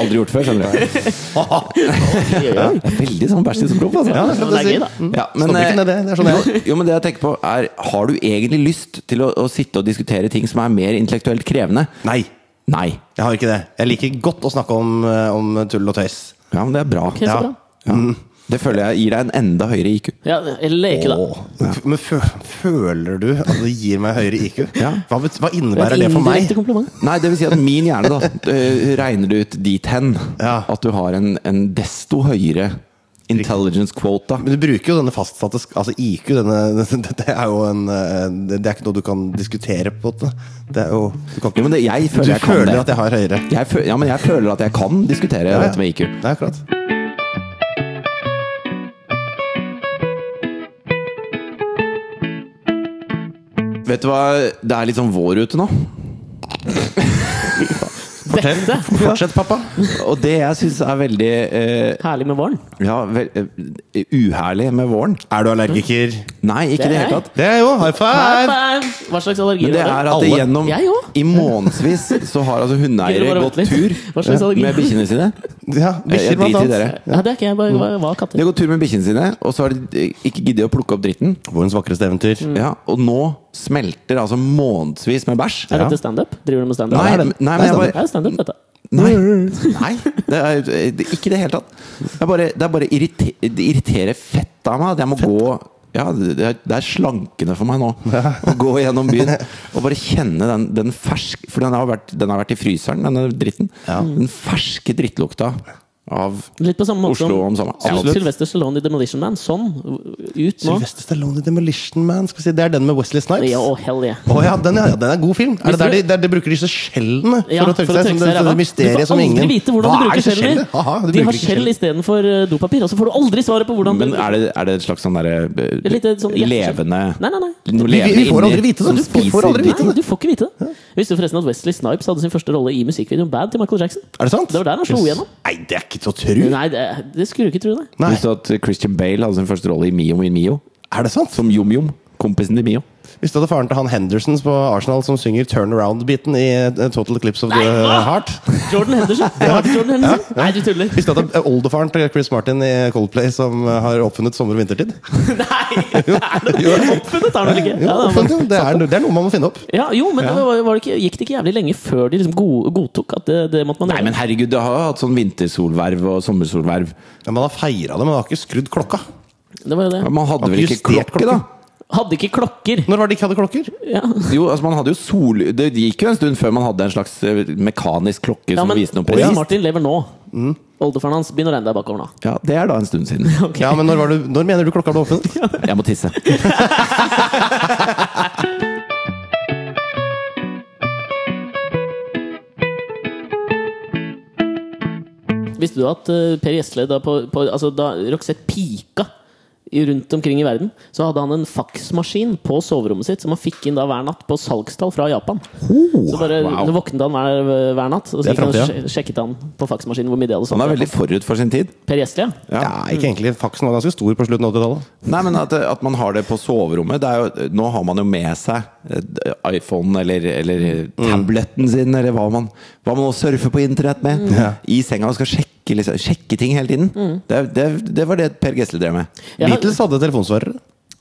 Speaker 1: Aldri gjort før, skjønner du.
Speaker 3: Oi, oi, oi.
Speaker 1: Veldig sånn bæsj i soproff, altså.
Speaker 2: Ja, det
Speaker 3: Men
Speaker 2: skal jeg
Speaker 3: det er gøy,
Speaker 2: si.
Speaker 3: da.
Speaker 1: Ja, men,
Speaker 2: Mm. Stopper ikke
Speaker 1: eh,
Speaker 2: ned det, det er sånn det er.
Speaker 1: jo, jo, men det jeg tenker på er Har du egentlig lyst til å, å sitte og diskutere ting som er mer intellektuelt krevende?
Speaker 2: Nei,
Speaker 1: Nei.
Speaker 2: jeg har ikke det. Jeg liker godt å snakke om, eh, om tull og tøys.
Speaker 1: Ja, men det er bra.
Speaker 3: Ok, så
Speaker 2: Ja.
Speaker 3: bra.
Speaker 1: Ja.
Speaker 2: Mm.
Speaker 1: Det føler jeg gir deg en enda høyere IQ.
Speaker 3: Ja, eller ikke, da.
Speaker 2: Åh, Men fø føler du at det gir meg høyere IQ?
Speaker 1: Ja.
Speaker 2: Hva, bet- hva
Speaker 3: Det er
Speaker 2: innebærer
Speaker 3: et
Speaker 2: det for meg?
Speaker 3: indirekte kompliment.
Speaker 1: Nei, det vil si at min hjerne da eh, regner ut dit hen
Speaker 2: Ja.
Speaker 1: at du har en, en desto høyere intelligence quota.
Speaker 2: Men du bruker jo denne fastsatte sk- Altså IQ, denne, det er jo en eh, Det er ikke noe du kan diskutere på. en måte. Det er jo, du kan
Speaker 1: Jo,
Speaker 2: ikke,
Speaker 1: men det, jeg føler
Speaker 2: du
Speaker 1: jeg kan
Speaker 2: føler
Speaker 1: det.
Speaker 2: at jeg har høyere.
Speaker 1: Jeg føl, ja, men jeg føler at jeg kan diskutere
Speaker 2: ja.
Speaker 1: dette med IQ.
Speaker 2: Det er akkurat.
Speaker 1: Vet du hva, det er litt sånn vår ute nå.
Speaker 2: Fortell. Fortsett, pappa.
Speaker 1: Og det jeg syns er veldig eh,
Speaker 3: Herlig med våren.
Speaker 1: Ja, vel, eh, uherlig med våren.
Speaker 2: Er du allergiker?
Speaker 1: Nei, ikke i
Speaker 3: Det
Speaker 1: det
Speaker 3: er
Speaker 1: hele tatt.
Speaker 2: Det er jo high
Speaker 3: High
Speaker 2: five!
Speaker 3: five! Hva slags allergier
Speaker 1: Men det er at
Speaker 2: Alle.
Speaker 1: gjennom
Speaker 3: Jeg òg.
Speaker 1: I månedsvis så har altså
Speaker 3: Gøy,
Speaker 1: hundeeiere
Speaker 3: bare
Speaker 1: gått
Speaker 3: vent litt.
Speaker 1: tur eh,
Speaker 3: Hva slags allergi?
Speaker 1: med bikkjene sine.
Speaker 2: Ja,
Speaker 1: Jeg
Speaker 2: Bikkjer, blant
Speaker 1: driter i
Speaker 2: annet.
Speaker 1: dere.
Speaker 3: Ja, det er ikke jeg. Bare hva- hva er katter?
Speaker 1: De har gått tur med bikkjene sine, og så har de eh, ikke giddet å plukke opp dritten.
Speaker 2: Vårens vakreste eventyr.
Speaker 3: Mm.
Speaker 1: Ja, og nå smelter altså månedsvis med bæsj.
Speaker 3: Er dette standup? Driver du med standup?
Speaker 1: Nei,
Speaker 2: det er
Speaker 1: men-
Speaker 2: det.
Speaker 1: nei, men
Speaker 2: Det er
Speaker 1: jeg
Speaker 3: Det
Speaker 1: bare
Speaker 3: er standup, dette.
Speaker 1: Nei, nei det er, det, ikke i det hele tatt. Det er bare, det er bare irrite, det irriterer fett av meg at jeg må gå ja, det er, det er slankende for meg nå å gå gjennom byen og bare kjenne den, den fersk For den har, vært, den har vært i fryseren, denne dritten. Den ferske drittlukta av
Speaker 3: Litt på samme måte
Speaker 1: Oslo om sommeren.
Speaker 3: Absolutt.
Speaker 1: Absolutt.
Speaker 3: Sylvester Stallone i Demolition Man. Sånn, ut nå.
Speaker 2: Sylvester Stallone i Demolition Man. Skal vi si, det er den med Wesley Snipes?
Speaker 3: Ja,
Speaker 2: Å
Speaker 3: og hell yeah.
Speaker 2: ja, den, ja, den er god film. Er det
Speaker 3: Visste
Speaker 2: der de,
Speaker 3: du?
Speaker 2: der de bruker disse skjellene for
Speaker 3: Ja,
Speaker 2: å tørke seg? Som det,
Speaker 3: i ræva.
Speaker 2: det mysteriet som
Speaker 3: Du får
Speaker 2: ingen
Speaker 3: aldri vite hvordan
Speaker 2: Hva
Speaker 3: du
Speaker 2: er
Speaker 3: bruker
Speaker 2: disse
Speaker 3: skjeller.
Speaker 2: skjellene? Haha, de
Speaker 3: De har
Speaker 2: bruker ikke
Speaker 3: skjell
Speaker 2: skjeller.
Speaker 3: istedenfor eh, dopapir, og så får du aldri svaret på hvordan
Speaker 1: Men er det, er det et slags sånn derre
Speaker 3: Et lite sånn hjerteskjell.
Speaker 1: levende
Speaker 3: Nei, nei, nei.
Speaker 1: noe
Speaker 2: Vi- vi- vi
Speaker 1: levende
Speaker 2: får aldri
Speaker 1: inni
Speaker 2: vite det.
Speaker 1: som
Speaker 2: Du får
Speaker 1: spiser
Speaker 2: aldri vite
Speaker 1: deg?
Speaker 3: Nei, du får ikke vite det. Visste du forresten at Wesley Snipes hadde sin første rolle i musikkvideoen Bad til Michael Jackson?
Speaker 2: Er det sant?
Speaker 3: Det var der han slo igjennom.
Speaker 2: Nei, det er ikke til å tro!
Speaker 3: Nei, det, det skulle du ikke tro, nei.
Speaker 2: Nei.
Speaker 1: Visste du at Christian Bale hadde sin første rolle i Mio min Mio?
Speaker 2: Er det sant?
Speaker 1: Som Jom-Jom. Kompisen til Mio.
Speaker 2: Visste du at det er faren til han Hendersons på Arsenal som synger turnaround-biten i eh, Total Eclipse of the
Speaker 3: hva?
Speaker 2: Heart?
Speaker 3: Jordan Henderson. Det var ikke Jordan Henderson. Nei, du tuller.
Speaker 2: Visste du at det er oldefaren til Chris Martin i Coldplay som eh, har oppfunnet sommer- og vintertid?
Speaker 3: Nei, er det det? Oppfunnet er han vel
Speaker 2: Jo,
Speaker 3: ikke? Ja, det er han.
Speaker 2: oppfunnet, jo. det, er, det er noe man må finne opp.
Speaker 3: Ja, jo, men det var, var det ikke, gikk det ikke jævlig lenge før de liksom go- godtok at det, det måtte man
Speaker 1: Nei, men herregud, det har jo hatt sånn vintersolverv og sommersolverv.
Speaker 2: Ja, man har feira det, men man har ikke skrudd klokka.
Speaker 3: Det var jo det.
Speaker 1: Man hadde
Speaker 2: Man
Speaker 1: vel
Speaker 2: har
Speaker 1: ikke
Speaker 2: justert
Speaker 1: klokke, da?
Speaker 2: klokken.
Speaker 3: Hadde ikke klokker.
Speaker 2: Når var det de ikke hadde klokker?
Speaker 3: Ja.
Speaker 1: Jo, altså man hadde jo sol... Det gikk jo en stund før man hadde en slags eh, mekanisk klokke
Speaker 3: ja,
Speaker 1: som
Speaker 3: men
Speaker 1: viste noe
Speaker 3: Chris
Speaker 1: presis. Mm.
Speaker 3: Martin lever nå. Oldefaren hans begynner å regne deg bakover nå.
Speaker 1: Ja, det er da en stund siden.
Speaker 2: Ja, men når, var du, når mener du klokka ble oppfunnet?
Speaker 1: Jeg må tisse.
Speaker 3: Visste du at eh, Per Gjesle, da, på, på, altså, da Roxette pika i- rundt omkring i verden, så hadde han en faksmaskin på soverommet sitt som han fikk inn da hver natt på salgstall fra Japan. så bare
Speaker 1: wow.
Speaker 3: nå våknet han hver, hver natt, og så
Speaker 2: Det
Speaker 3: gikk
Speaker 2: er
Speaker 3: han og
Speaker 2: fremtiden.
Speaker 3: sj- sjekket han på faksmaskinen hvor mye det hadde
Speaker 1: Han
Speaker 3: solgt.
Speaker 1: er veldig forut for sin tid.
Speaker 3: Per Gjesle, ja.
Speaker 2: Ja, ikke egentlig. Faksen var ganske stor på slutten av 80-tallet.
Speaker 1: Nei, men at, at man har det på soverommet det er jo, Nå har man jo med seg eh, iPhone eller, eller tableten sin, eller hva man, hva man nå surfer på internett med.
Speaker 3: Mm.
Speaker 1: I senga og skal sjekke, liksom, sjekke ting hele tiden. Det, er- det, er- det var det Per Gessle drev med.
Speaker 3: Jeg har-
Speaker 2: Beatles hadde telefonsvarere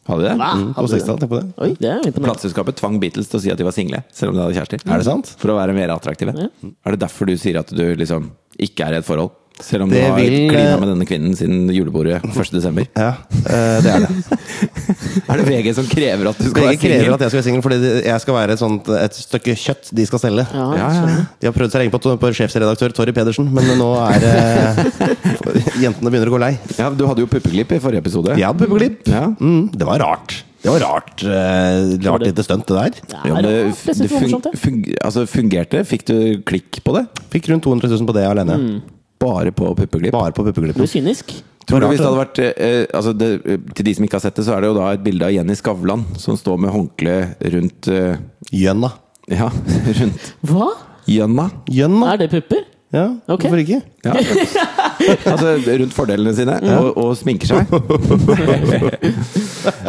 Speaker 1: Hadde de det?
Speaker 3: Hva?
Speaker 2: mm, på
Speaker 3: Hadde du det?
Speaker 2: 60-tallet. Tenk på det.
Speaker 3: Oi, det er jo imponerende.
Speaker 1: Plateselskapet tvang Beatles til å si at de var single, selv om de hadde kjærester.
Speaker 2: Er det sant?
Speaker 1: For å være mer attraktive. Er det derfor du sier at du liksom ikke er i et forhold? Selv om du
Speaker 2: Det
Speaker 1: har
Speaker 2: vil,
Speaker 1: klina
Speaker 2: eh,
Speaker 1: med denne kvinnen siden julebordet 1.12.
Speaker 2: Ja, eh, det er det.
Speaker 1: Er det VG som krever at du skal
Speaker 2: Begge
Speaker 1: være
Speaker 2: krever
Speaker 1: singel?
Speaker 2: at jeg skal være singel fordi de- jeg skal være et, sånt, et stykke kjøtt de skal selge.
Speaker 3: Ja,
Speaker 1: Ja,
Speaker 3: jeg
Speaker 1: ja, ja.
Speaker 3: skjønner.
Speaker 2: De har prøvd seg lenge på, på sjefsredaktør Torry Pedersen, men nå er eh, jentene begynner å gå lei.
Speaker 1: ja, du hadde jo puppeglipp i forrige episode.
Speaker 2: Ja, puppeklipp.
Speaker 1: Ja.
Speaker 2: Mm, det var rart. Det var rart eh, Rart lite stunt, det der.
Speaker 3: Ja,
Speaker 1: Ja, men
Speaker 3: det
Speaker 1: det,
Speaker 3: er rart. Jeg synes
Speaker 1: det
Speaker 3: det var morsomt,
Speaker 1: fung,
Speaker 3: det.
Speaker 1: fung, altså fungerte? Fikk du klikk på det?
Speaker 2: Fikk rundt 200 000 på det alene.
Speaker 3: Mm.
Speaker 1: Bare på puppeglipp?
Speaker 2: Bare på
Speaker 3: Du
Speaker 2: puppeklippet.
Speaker 3: er kynisk.
Speaker 1: Tror du
Speaker 2: Rart,
Speaker 1: hvis det hadde vært eh, altså det, Til de som ikke har sett det, så er det jo da et bilde av Jenny Skavlan som står med håndkle rundt eh,
Speaker 2: Gjønna.
Speaker 1: Ja, rundt
Speaker 3: Hva?
Speaker 1: gjønna.
Speaker 2: Gjønna?
Speaker 3: Er det pupper?
Speaker 2: Ja,
Speaker 3: Ok.
Speaker 2: hvorfor ikke?
Speaker 1: Ja. altså rundt fordelene sine, og, og sminker seg.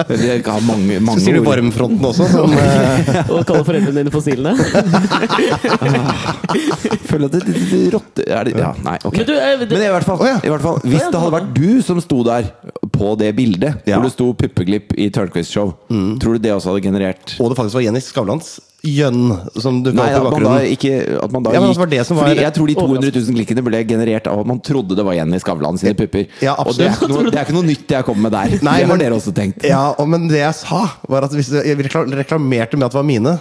Speaker 1: De har mange,
Speaker 2: Så
Speaker 1: mange
Speaker 2: sier du
Speaker 1: ord.
Speaker 2: varmfronten også, som eh,
Speaker 3: Og kaller foreldrene dine fossilene?
Speaker 1: Føler at det, det, det, rotte... Er det, ja, nei, ok.
Speaker 3: Men du, eh, det-
Speaker 1: Men i hvert fall,
Speaker 2: Å, ja.
Speaker 1: i hvert fall hvis det hadde vært du som sto der på det bildet,
Speaker 2: Ja. Mm.
Speaker 1: hvor det sto 'puppeglipp' i Tørnquist-show, tror du det også hadde generert
Speaker 2: Og det faktisk var Jenny Skavlans gjønn som dukka
Speaker 1: Nei,
Speaker 2: opp i
Speaker 1: at man da
Speaker 2: bakgrunnen.
Speaker 1: ikke at man da
Speaker 2: Ja,
Speaker 1: gikk-
Speaker 2: men altså, var det som var-
Speaker 1: Fordi jeg tror de 200 000 klikkene ble generert av at man trodde det var Jenny Skavlan sine pupper.
Speaker 2: Ja,
Speaker 1: og det er,
Speaker 2: absolutt.
Speaker 1: ikke noe, det er ikke noe nytt jeg kommer med der.
Speaker 2: Nei,
Speaker 1: det
Speaker 2: men-
Speaker 1: har dere også tenkt.
Speaker 2: Ja, og, men det jeg sa, var at hvis jeg rekla- reklamerte med at det var mine,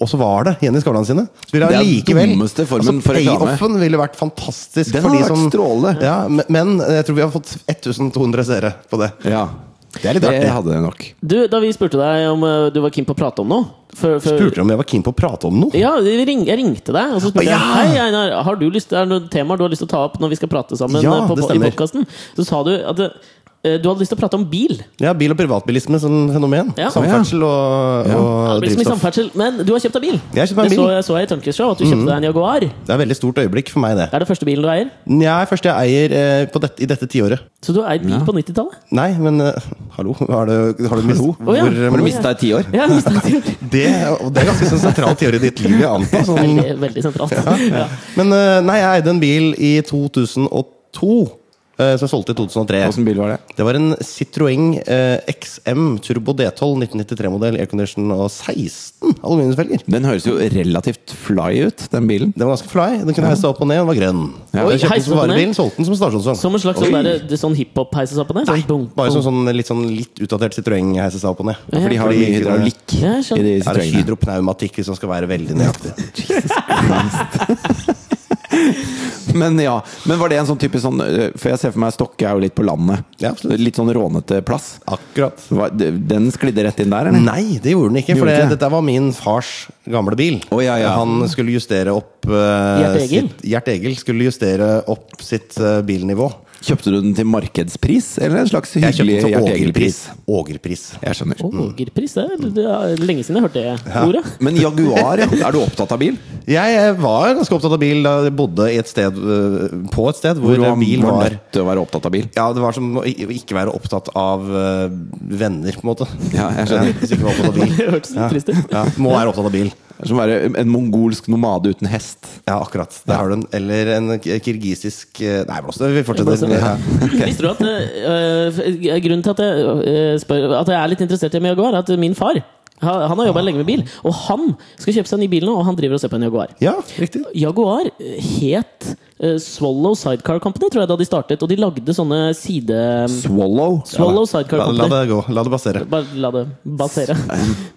Speaker 2: og så var det Jenny Skavlan sine, så ville
Speaker 1: Det er
Speaker 2: jeg likevel altså,
Speaker 1: dummeste formen for reklame.
Speaker 2: Payoffen ville vært fantastisk.
Speaker 1: Den
Speaker 2: for
Speaker 1: har
Speaker 2: de
Speaker 1: vært
Speaker 2: som-
Speaker 1: strålende.
Speaker 2: Ja, men, men jeg tror vi har fått 1200 seere på det.
Speaker 1: Ja.
Speaker 2: Det er litt artig.
Speaker 1: Det hadde jeg nok.
Speaker 3: Du, da vi spurte deg om eh, du var keen på å prate om noe før- før-
Speaker 2: Spurte du om jeg var keen på å prate om noe?
Speaker 3: Ja, vi ring, jeg ringte deg, og så
Speaker 2: Å,
Speaker 3: spurte
Speaker 2: ja!
Speaker 3: jeg Hei, Einar, har du lyst, er det noen temaer du har lyst til å ta opp når vi skal prate sammen
Speaker 2: Ja,
Speaker 3: eh, på,
Speaker 2: det
Speaker 3: på, i
Speaker 2: stemmer.
Speaker 3: podkasten? Så sa du at eh, du hadde lyst til å prate om bil.
Speaker 2: Ja, Bil- og privatbilisme som fenomen.
Speaker 3: Ja.
Speaker 2: Samferdsel og,
Speaker 3: Ja,
Speaker 2: og
Speaker 3: det blir så mye
Speaker 2: drivstoff.
Speaker 3: samferdsel, men du har kjøpt deg bil.
Speaker 2: Jeg har kjøpt meg en
Speaker 3: det
Speaker 2: bil. Mm.
Speaker 3: så jeg, så jeg i Tønkers Show, at du kjøpte deg en Jaguar. Det
Speaker 2: Det er et veldig stort øyeblikk for meg, det.
Speaker 3: er det første bilen du eier.
Speaker 2: Jeg er første jeg eier eh, på dette, i dette tiåret.
Speaker 3: Så du har eid bil på 90-tallet?
Speaker 2: Nei, men eh, hallo, har du, har du mist
Speaker 3: Å, ja.
Speaker 2: hvor,
Speaker 1: Har du
Speaker 3: Oi.
Speaker 1: mista et tiår?
Speaker 3: Ja, visst, det
Speaker 2: Det, og det er ganske sånn sentralt tiår i ditt liv, jeg antar.
Speaker 3: er
Speaker 2: Sånn.
Speaker 3: veldig, veldig sentralt. Ja.
Speaker 2: Men eh, nei, jeg eide en bil i 2002, eh, som jeg solgte i 2003.
Speaker 1: Åssen bil var det?
Speaker 2: Det var en Citroën eh, XM Turbo D12 1993-modell, aircondition og 16 aluminiumsfelger.
Speaker 1: Den høres jo relativt fly ut, den bilen.
Speaker 2: Den var ganske fly. Den kunne heise opp og ned, den var grønn.
Speaker 1: Ja.
Speaker 3: Oi,
Speaker 2: Jeg kjøpte den som
Speaker 3: heisen opp og ned?
Speaker 2: varebil, solgte den som stasjonsvogn.
Speaker 3: Som en slags sånn, der, det er sånn hiphop heises opp og ned? Sånn
Speaker 2: Nei,
Speaker 3: bung,
Speaker 2: Bare som
Speaker 3: bung.
Speaker 2: sånn litt, sånn litt utdatert Citroën heiser seg opp og ned.
Speaker 1: For de har mye hydraulikk
Speaker 3: Ja, jeg
Speaker 1: i de
Speaker 3: skjønner.
Speaker 2: Er det
Speaker 1: strøngene.
Speaker 2: hydropneumatikk hvis man skal være veldig nøyaktig?
Speaker 1: Men ja, men var det en sånn typisk sånn eh, For jeg ser for meg Stokke er jo litt på landet.
Speaker 2: Ja, absolutt.
Speaker 1: litt sånn rånete plass.
Speaker 2: Akkurat.
Speaker 1: Var- Den sklidde rett inn der, eller?
Speaker 2: Nei, det gjorde den ikke. For
Speaker 1: Gjorde
Speaker 2: det,
Speaker 1: ikke det?
Speaker 2: dette var min fars gamle bil.
Speaker 1: Å, ja, ja.
Speaker 2: Han skulle justere opp uh,
Speaker 3: Gjert Egil?
Speaker 2: Sitt, Gjert Egil skulle justere opp sitt eh, bilnivå.
Speaker 1: Kjøpte du den til markedspris, eller en slags
Speaker 2: Jeg kjøpte
Speaker 1: hyggelig
Speaker 2: den til
Speaker 1: Gjert
Speaker 2: Ågerpris.
Speaker 1: Egil-pris?
Speaker 2: Ågerpris.
Speaker 1: Jeg skjønner.
Speaker 3: Ågerpris, det er- det er lenge siden jeg hørte det ordet.
Speaker 1: Men Jaguar, ja. Er du opptatt av bil?
Speaker 2: Jeg eh, var ganske opptatt av bil da jeg bodde i et sted, eh, på et sted hvor,
Speaker 1: Hvor du var,
Speaker 2: bil
Speaker 1: var
Speaker 2: var
Speaker 1: nødt til å være opptatt av bil?
Speaker 2: ja, det var som å i- å ikke være opptatt av eh, venner, på en måte.
Speaker 1: Ja, jeg skjønner.
Speaker 2: Hvis ikke var opptatt av bil.
Speaker 3: Det hørtes litt trist ut.
Speaker 2: Ja, må være opptatt av bil.
Speaker 1: Det er Som å være en mongolsk nomade uten hest.
Speaker 2: Ja, akkurat. Der har du en. Eller en k- kirgisisk eh, Nei, blås det. Vi fortsetter.
Speaker 3: Blås det.
Speaker 2: Ja.
Speaker 3: Visste du at eh, eh, Grunnen til at jeg, eh, spør, at jeg er litt interessert i en Jaguar, er at min far han han har jobba lenge med bil, og han skal kjøpe seg en ny bil nå, og han driver og ser på en Jaguar.
Speaker 2: ja, riktig.
Speaker 3: Jaguar eh, het eh, Swallow Sidecar Company, tror jeg, da de startet. Og de lagde sånne side...
Speaker 1: Swallow.
Speaker 2: La,
Speaker 3: Swallow Sidecar
Speaker 2: la
Speaker 3: Company.
Speaker 2: det gå. La det passere.
Speaker 3: Bare la det basere,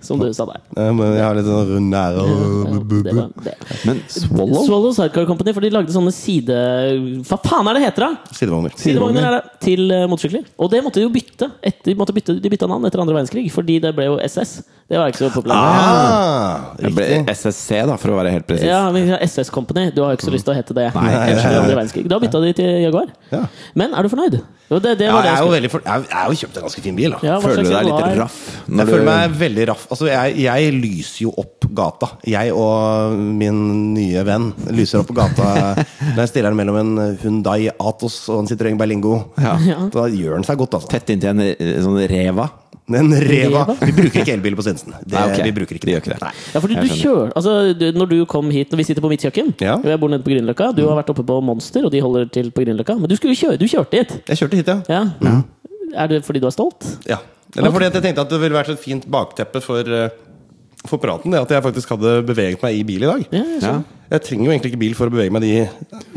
Speaker 3: som du sa der.
Speaker 2: Ja, men Jeg har litt sånn rund nære og
Speaker 3: Det var det.
Speaker 1: Men Swallow?
Speaker 3: Swallow Sidecar Company, for de lagde sånne side... Hva faen er det heter, da?
Speaker 2: sidevogner.
Speaker 3: Sidevogner er det, til eh, motorsykler. Og det måtte de jo bytte. Etter, de, måtte bytte de bytta navn etter andre verdenskrig, fordi det ble jo SS. Det var ikke så populært.
Speaker 2: Ah,
Speaker 1: Jeg ble
Speaker 2: riktig.
Speaker 1: SSC, da, for å være helt presis.
Speaker 3: Ja, men SS Company, du har jo ikke så
Speaker 2: Mm.
Speaker 3: lyst til å hete det.
Speaker 1: Nei, jeg
Speaker 3: etter andre verdenskrig. Da bytta de til Jaguar.
Speaker 2: Ja.
Speaker 3: Men er du fornøyd? Jo, det, det
Speaker 2: Ja,
Speaker 3: var det
Speaker 2: jeg er
Speaker 3: jeg
Speaker 2: jo
Speaker 3: skulle
Speaker 2: veldig for, jeg har- jeg har jo kjøpt en ganske fin bil, da.
Speaker 3: Ja, hva
Speaker 1: Føler du
Speaker 3: slags
Speaker 1: deg litt
Speaker 3: Jaguar?
Speaker 1: raff?
Speaker 2: Jeg
Speaker 1: Når
Speaker 2: føler
Speaker 1: du,
Speaker 2: meg veldig raff. Altså, jeg, jeg lyser jo opp gata. Jeg og min nye venn lyser opp gata når jeg stiller den mellom en Hundai Atos og en Citroën Berlingo.
Speaker 3: Ja.
Speaker 2: Da gjør den seg godt, altså.
Speaker 1: tett inntil en eh, sånn reva?
Speaker 2: En Reva.
Speaker 3: Reva?
Speaker 2: Vi bruker ikke elbil på Sinsen. Det,
Speaker 1: Nei, ok.
Speaker 2: Vi bruker ikke
Speaker 1: Vi gjør ikke det.
Speaker 2: Nei.
Speaker 3: Ja, fordi du
Speaker 1: Jeg
Speaker 3: kjører altså, du, Når du kom hit, når vi sitter på mitt kjøkken
Speaker 2: Ja.
Speaker 3: og Jeg bor nede på Grünerløkka. Du har vært oppe på Monster, og de holder til på Grünerløkka. Men du skulle jo kjøre, du kjørte hit!
Speaker 2: Jeg kjørte hit, ja.
Speaker 3: Ja. Er det fordi du er stolt?
Speaker 2: Ja. Eller fordi at jeg tenkte at det ville vært et fint bakteppe for, eh, for praten. Det at jeg faktisk hadde beveget meg i bil i dag.
Speaker 3: Ja, jeg
Speaker 1: Ja.
Speaker 3: skjønner.
Speaker 2: Jeg trenger jo egentlig ikke bil for å bevege meg de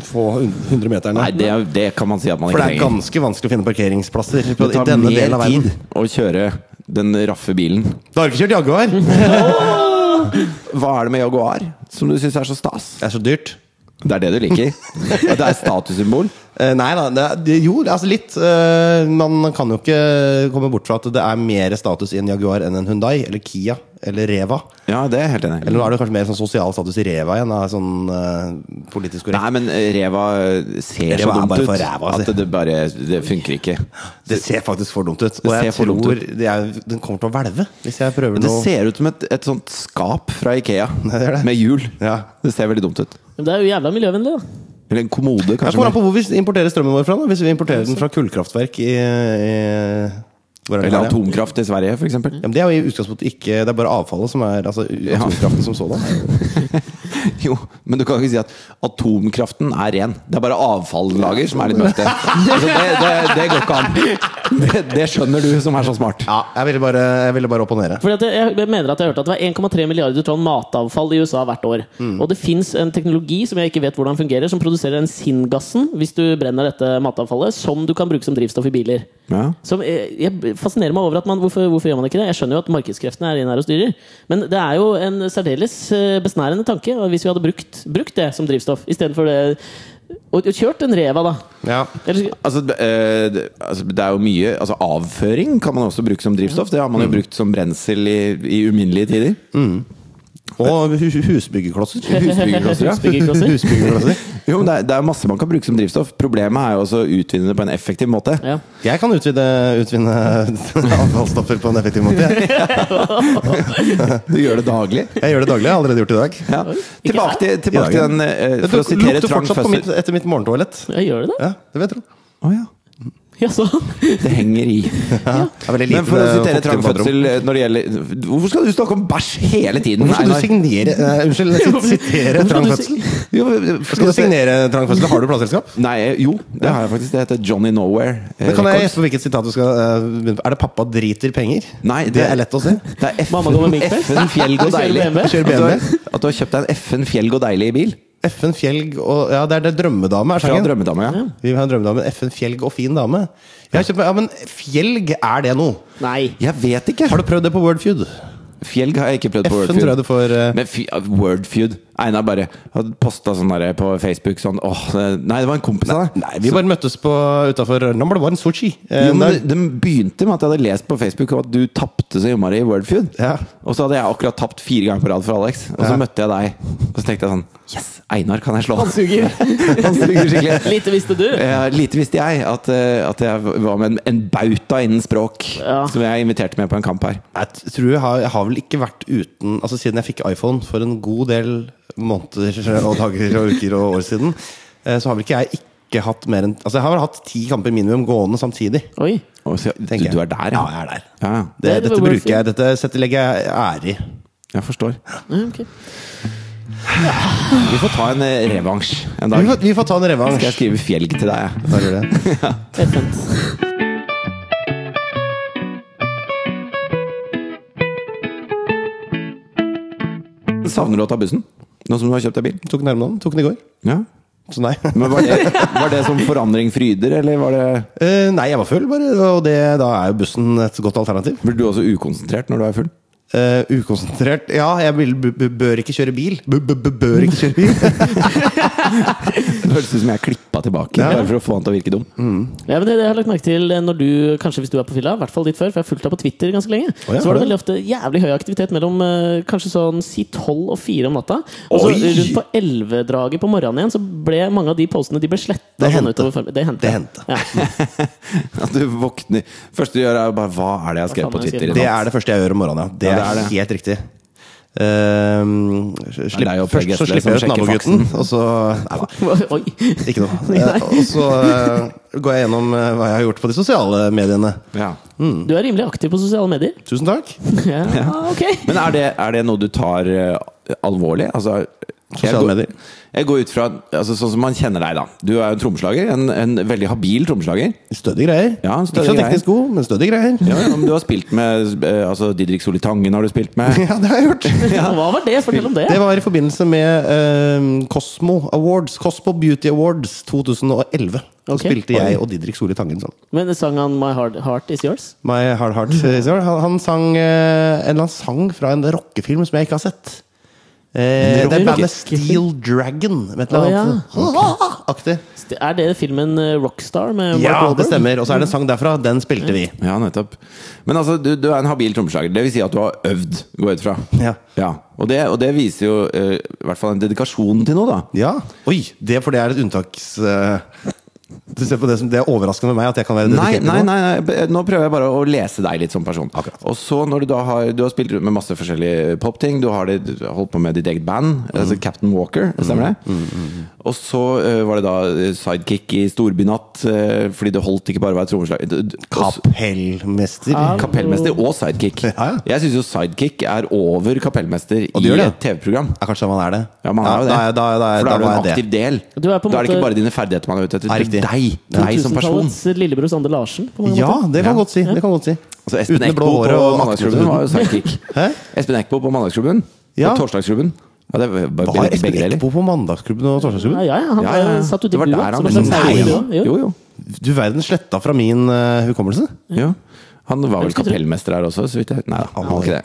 Speaker 2: få hun- hundre meterne.
Speaker 1: Nei, det, er- det kan man si at man
Speaker 2: for
Speaker 1: ikke
Speaker 2: det er
Speaker 1: trenger.
Speaker 2: ganske vanskelig å finne parkeringsplasser på,
Speaker 1: Det
Speaker 2: i
Speaker 1: tar
Speaker 2: denne delen av
Speaker 1: mer tid
Speaker 2: verden.
Speaker 1: å kjøre den raffe bilen.
Speaker 2: Da har du ikke kjørt Jaguar! Det
Speaker 1: Hva er det med Jaguar som du syns er så stas?
Speaker 2: er så dyrt.
Speaker 1: Det er det du liker? At det er statussymbol?
Speaker 2: Eh, nei da, det, er- det, jo, altså litt. eh, man kan jo ikke komme bort fra at det er mer status i en Jaguar enn en Hundai eller Kia eller Reva.
Speaker 1: Ja, det er jeg helt enig i.
Speaker 2: Eller nå er det kanskje mer sånn sosial status i Reva igjen, da, sånn eh, politisk korrekt.
Speaker 1: Nei, men ræva ser
Speaker 2: Ræva er
Speaker 1: så dumt
Speaker 2: bare
Speaker 1: ut.
Speaker 2: for ræva, altså.
Speaker 1: at det bare Det funker ikke.
Speaker 2: Det ser faktisk for dumt ut. Og
Speaker 1: ser
Speaker 2: jeg
Speaker 1: for
Speaker 2: tror
Speaker 1: dumt
Speaker 2: det er- den kommer til å hvelve hvis jeg prøver
Speaker 1: Men det
Speaker 2: noe
Speaker 1: ser ut som et, et sånt skap fra Ikea
Speaker 2: det er det.
Speaker 1: med hjul.
Speaker 2: Ja.
Speaker 1: Det ser veldig dumt ut.
Speaker 3: Men det er jo jævla miljøvennlig, da.
Speaker 1: Eller en kommode,
Speaker 2: Jeg
Speaker 1: kanskje.
Speaker 2: kommer an
Speaker 1: mer.
Speaker 2: på hvor vi importerer strømmen vår fra. Da. Hvis vi importerer den fra kullkraftverk i, i hvor er det
Speaker 1: Eller
Speaker 2: her, ja?
Speaker 1: atomkraft i Sverige, for eksempel.
Speaker 2: Ja, men det er jo i utgangspunktet ikke Det er bare avfallet som er Altså atomkraften som sådan.
Speaker 1: Jo, men du kan ikke si at atomkraften er ren. Det er bare avfalllager som er litt møkte. Altså, det, det, det går ikke an. Det, det skjønner du, som er så smart.
Speaker 2: Ja, jeg ville bare, jeg ville bare opponere.
Speaker 3: Fordi at jeg, jeg mener at jeg hørte at det var 1,3 milliarder tonn matavfall i USA hvert år. Og det fins en teknologi som jeg ikke vet hvordan fungerer, som produserer den sinngassen hvis du brenner dette matavfallet, som du kan bruke som drivstoff i biler.
Speaker 1: Ja.
Speaker 3: Som jeg, jeg fascinerer meg over at man, hvorfor, hvorfor gjør man ikke det? Jeg skjønner jo at markedskreftene er inne her og styrer, men det er jo en særdeles eh, besnærende tanke og hvis vi hadde brukt, brukt det som drivstoff istedenfor det og, og kjørt en Reva, da.
Speaker 2: Ja.
Speaker 3: Eller,
Speaker 1: Altså, eh, det- altså, det er jo mye altså, Avføring kan man også bruke som drivstoff. Det har man jo brukt som brensel i, i uminnelige tider.
Speaker 2: Og hu- hu- husbyggeklosser.
Speaker 1: Husbyggerklosser, ja.
Speaker 3: Husbyggerklosser.
Speaker 2: Husbyggeklosser.
Speaker 1: Jo, men det, er, det er masse man kan bruke som drivstoff. Problemet er jo også å utvinne det på en effektiv måte.
Speaker 3: ja.
Speaker 2: Jeg kan utvide, utvinne avfallsstoffer på en effektiv måte. jeg.
Speaker 1: Du gjør det daglig.
Speaker 2: Jeg gjør det daglig. Jeg har allerede gjort det i dag.
Speaker 1: Ja. Tilbake til,
Speaker 2: I dag,
Speaker 1: tilbake
Speaker 2: ja.
Speaker 1: til den eh,
Speaker 2: Det
Speaker 1: For å sitere
Speaker 2: lukter
Speaker 1: Trang
Speaker 2: fortsatt på mitt,
Speaker 1: Føsser.
Speaker 2: etter mitt morgentoalett.
Speaker 3: ja, gjør det det?
Speaker 2: Ja, det vet du.
Speaker 1: Å ja.
Speaker 3: Jaså?
Speaker 1: Det henger i.
Speaker 2: Det er veldig lite
Speaker 1: Men for å
Speaker 2: med
Speaker 1: sitere
Speaker 2: fuktig
Speaker 1: Trang
Speaker 2: baderom.
Speaker 1: Fødsel eh, når det gjelder Hvorfor skal du snakke om bæsj hele tiden?
Speaker 2: Hvorfor skal
Speaker 1: Einar?
Speaker 2: du signere eh, Unnskyld, sit- sitere
Speaker 3: Hvorfor
Speaker 2: Trang
Speaker 3: skal du
Speaker 2: Fødsel?
Speaker 1: Jo, eh,
Speaker 2: Skal du signere Trang Fødsel? Har du plateselskap?
Speaker 1: Nei, eh, jo, det har jeg faktisk. Det heter Johnny Nowhere. eh,
Speaker 2: Men kan jeg
Speaker 1: Records.
Speaker 2: gjette på hvilket sitat du skal eh, begynne på? Er det 'pappa driter penger'?
Speaker 1: Nei, det-
Speaker 2: det, er lett å si.
Speaker 1: Det er
Speaker 3: Mamma går med
Speaker 1: FN,
Speaker 3: minkpels.
Speaker 1: FN Fjellg og
Speaker 3: Kjører
Speaker 1: Deilig.
Speaker 3: BMW.
Speaker 1: At du har, at du har kjøpt deg en FN Fjellg og Deilig bil
Speaker 2: FN Fjelg og Ja, det er det drømmedame er
Speaker 1: fra
Speaker 2: sangen.
Speaker 1: Drømmedama. Ja.
Speaker 2: Vi har en drømmedame. FN Fjelg og fin dame. Jeg har kjøpt meg, ja, Men Fjelg, er det noe?
Speaker 3: Nei.
Speaker 1: Jeg vet ikke!
Speaker 2: Har du prøvd det på Wordfeud?
Speaker 1: Fjellg har jeg ikke prøvd på
Speaker 2: FN tror jeg
Speaker 1: Wordfeud.
Speaker 2: du får eh,
Speaker 1: Men fy- Wordfeud Einar bare hadde posta sånn der på Facebook sånn åh, det- Nei, det var en kompis av deg.
Speaker 2: Nei, vi bare møttes på utafor number one Sochi. Eh,
Speaker 1: Jo, men
Speaker 2: der-
Speaker 1: det- Den begynte med at jeg hadde lest på Facebook at du tapte så innmari i Wordfeud.
Speaker 2: Ja.
Speaker 1: Og så hadde jeg akkurat tapt fire ganger på rad for Alex. Og så
Speaker 2: Ja.
Speaker 1: møtte jeg deg, og så tenkte jeg sånn Yes! Einar kan jeg slå.
Speaker 3: Han suger.
Speaker 1: Han suger skikkelig.
Speaker 3: Lite visste du.
Speaker 1: Ja, lite visste jeg at, eh, at jeg var med en, en bauta innen språk
Speaker 3: Ja.
Speaker 1: som jeg inviterte med på en kamp her.
Speaker 2: Jeg t- tror jeg har, jeg har vel ikke vært uten Altså Siden jeg fikk iPhone for en god del måneder og dager og uker og år siden, eh, så har vel ikke jeg ikke hatt mer enn Altså Jeg har vel hatt ti kamper minimum gående samtidig.
Speaker 3: Oi.
Speaker 1: Og så, du,
Speaker 2: tenker jeg.
Speaker 1: du er der,
Speaker 2: ja? jeg er der.
Speaker 1: Ja, ja.
Speaker 2: Det,
Speaker 3: Det er
Speaker 2: dette
Speaker 3: bare
Speaker 2: bruker jeg, dette setter, legger jeg ære i.
Speaker 1: Jeg forstår.
Speaker 3: Ja, ok.
Speaker 1: Vi får ta en eh, revansj en dag.
Speaker 2: Vi får, vi får ta en revansj.
Speaker 1: Skal jeg skrive fjelg til deg, jeg.
Speaker 2: Da gjør vi det.
Speaker 3: Det er fint.
Speaker 1: Savner du å ta bussen? Nå som du har kjøpt deg bil?
Speaker 2: Tok den nærmere om. Tok den i går.
Speaker 1: Ja.
Speaker 2: Så nei.
Speaker 1: Men var det, var det som forandring fryder, eller var det
Speaker 2: Eh, nei, jeg var full, bare. Og det, da er jo bussen et godt alternativ.
Speaker 1: Blir du også ukonsentrert når du er full?
Speaker 2: Eh, ukonsentrert Ja, jeg vil, b b bør ikke kjøre bil. B b b bør ikke kjøre bil.
Speaker 1: Det høres ut som jeg klippa tilbake,
Speaker 2: Ja.
Speaker 1: bare for å få han til å virke dum.
Speaker 3: Ja, men det, det jeg har lagt merke til eh, når du, kanskje hvis du er på fylla, i hvert fall ditt før, for jeg har fulgt deg på Twitter ganske lenge,
Speaker 2: Å ja,
Speaker 3: så var
Speaker 2: har du?
Speaker 3: det veldig ofte jævlig høy aktivitet mellom eh, kanskje sånn si 12 og 4 om natta. Og så
Speaker 2: Oi!
Speaker 3: rundt på 11-draget på morgenen igjen, så ble mange av de postene de ble sletta.
Speaker 2: Det
Speaker 3: sånn
Speaker 2: hendte.
Speaker 3: utover formiddagen.
Speaker 2: Det
Speaker 3: det
Speaker 2: hendte.
Speaker 3: hendte. Ja.
Speaker 1: At du våkner Første du gjør, er jo bare Hva er det jeg har skrevet
Speaker 3: Hva
Speaker 1: på
Speaker 3: faen er det jeg
Speaker 1: Twitter i
Speaker 2: Det
Speaker 1: natt?
Speaker 2: er det første jeg gjør om morgenen, ja. Det,
Speaker 1: Ja, det
Speaker 2: er,
Speaker 1: er det.
Speaker 2: helt riktig. Ehm, slipp,
Speaker 1: det er jo Per
Speaker 2: først så
Speaker 1: Gessle
Speaker 2: slipper jeg ut
Speaker 1: som sjekker
Speaker 2: nabogutten, og så Nei da,
Speaker 3: Oi.
Speaker 2: ikke noe.
Speaker 3: Nei.
Speaker 2: Eh, og så eh, går jeg gjennom eh, hva jeg har gjort på de sosiale mediene.
Speaker 1: Ja.
Speaker 3: Du er rimelig aktiv på sosiale medier.
Speaker 2: Tusen takk.
Speaker 3: Ja, ok.
Speaker 1: Men er det, er det noe du tar eh, alvorlig? Altså, jeg
Speaker 2: Sosiale
Speaker 1: går-
Speaker 2: medier.
Speaker 1: Jeg går ut fra altså, Sånn som man kjenner deg, da. Du er jo en trommeslager. En, en veldig habil trommeslager.
Speaker 2: Stødige greier.
Speaker 1: Ja, stødige
Speaker 2: ikke så
Speaker 1: greier.
Speaker 2: teknisk god, men stødige greier.
Speaker 1: Ja, ja, men du har spilt med eh, altså, Didrik Solitangen har du spilt med.
Speaker 2: Ja, det har jeg gjort.
Speaker 3: Hva var det? Fortell om det.
Speaker 2: Det var i forbindelse med eh, Cosmo Awards, Cosmo Beauty Awards 2011. Så
Speaker 3: Ok.
Speaker 2: spilte jeg og Didrik Soli Tangen sånn.
Speaker 3: Men sang han My Hard Heart Is Yours?
Speaker 2: My Hard Heart Is Yours. Han, han sang eh, en eller annen sang fra en rockefilm som jeg ikke har sett. Eh, det er bandet Steel Dragon med et eller annet aktig.
Speaker 3: Er det filmen eh, Rockstar med Mark
Speaker 2: Ja, det
Speaker 3: Wahlberg?
Speaker 2: stemmer. Og så er det en sang derfra. Den spilte vi.
Speaker 1: Ja, nettopp. Men altså, du, du er en habil trommeslager. Det vil si at du har øvd, går jeg ut fra.
Speaker 2: Ja.
Speaker 1: Og, det, og det viser jo eh, i hvert fall en dedikasjon til noe, da.
Speaker 2: Ja. Oi! Det for det er et unntaks... eh, du ser på det som Det er overraskende med meg at jeg kan være
Speaker 1: Nei,
Speaker 2: dedikert. til
Speaker 1: nei,
Speaker 2: noe.
Speaker 1: nei, nei, nå prøver jeg bare å lese deg litt som person.
Speaker 2: Akkurat.
Speaker 1: Og så når du da har Du har spilt rundt med masse forskjellige popting. Du har det, du har holdt på med ditt eget band,
Speaker 2: Mhm.
Speaker 1: altså Captain Walker, stemmer det? Og så eh, var det da eh, sidekick i Storbynatt, eh, fordi det holdt ikke bare å være trommeslager. Du- du-
Speaker 2: Kapellmester.
Speaker 3: Ja.
Speaker 1: Kapellmester og sidekick.
Speaker 2: Ja, ja.
Speaker 1: Jeg syns jo sidekick er over kapellmester i
Speaker 2: Og det gjør det, ja.
Speaker 1: et TV-program.
Speaker 2: Ja, kanskje man er det.
Speaker 1: Ja, man er jo det.
Speaker 2: Da, da, da,
Speaker 1: For da
Speaker 2: da,
Speaker 1: er du
Speaker 2: var
Speaker 1: en
Speaker 2: jeg det.
Speaker 1: aktiv del.
Speaker 3: Du er på en
Speaker 1: da er det ikke
Speaker 3: måte-
Speaker 1: bare dine ferdigheter man er ute etter.
Speaker 2: Ja,
Speaker 1: det er deg.
Speaker 2: riktig.
Speaker 1: Deg som person.
Speaker 3: 2000-tallets Lillebror Sander Larsen. På mange
Speaker 2: Ja,
Speaker 3: måter.
Speaker 2: det kan
Speaker 1: Ja.
Speaker 2: godt si. Det kan godt si.
Speaker 1: Altså Espen
Speaker 2: Uten det blå
Speaker 1: Eckbo
Speaker 2: håret
Speaker 1: på
Speaker 2: og sånn.
Speaker 1: Mandagsklubben var jo sidekick.
Speaker 2: Hæ?
Speaker 1: Espen Eckbo på Mandagsklubben.
Speaker 2: Ja.
Speaker 1: På Torsdagsklubben. Ja, det var bare
Speaker 2: Var
Speaker 1: begge,
Speaker 2: Espen
Speaker 1: begge deler.
Speaker 2: Eckbo på mandagsklubben og torsdagsklubben?
Speaker 3: Ja, ja, han
Speaker 1: Ja, ja, ja.
Speaker 3: eh, satt ute
Speaker 1: Det
Speaker 3: i
Speaker 1: var
Speaker 3: bua.
Speaker 1: der han-
Speaker 3: som en slags
Speaker 1: Nei,
Speaker 3: herre i
Speaker 1: ja.
Speaker 3: bua. Jo.
Speaker 1: Jo, jo.
Speaker 2: Du verden sletta fra min eh, hukommelse.
Speaker 1: Ja. Han var vel
Speaker 3: skulle tro-
Speaker 1: kapellmester her også, så vidt jeg Nei, han var ikke det.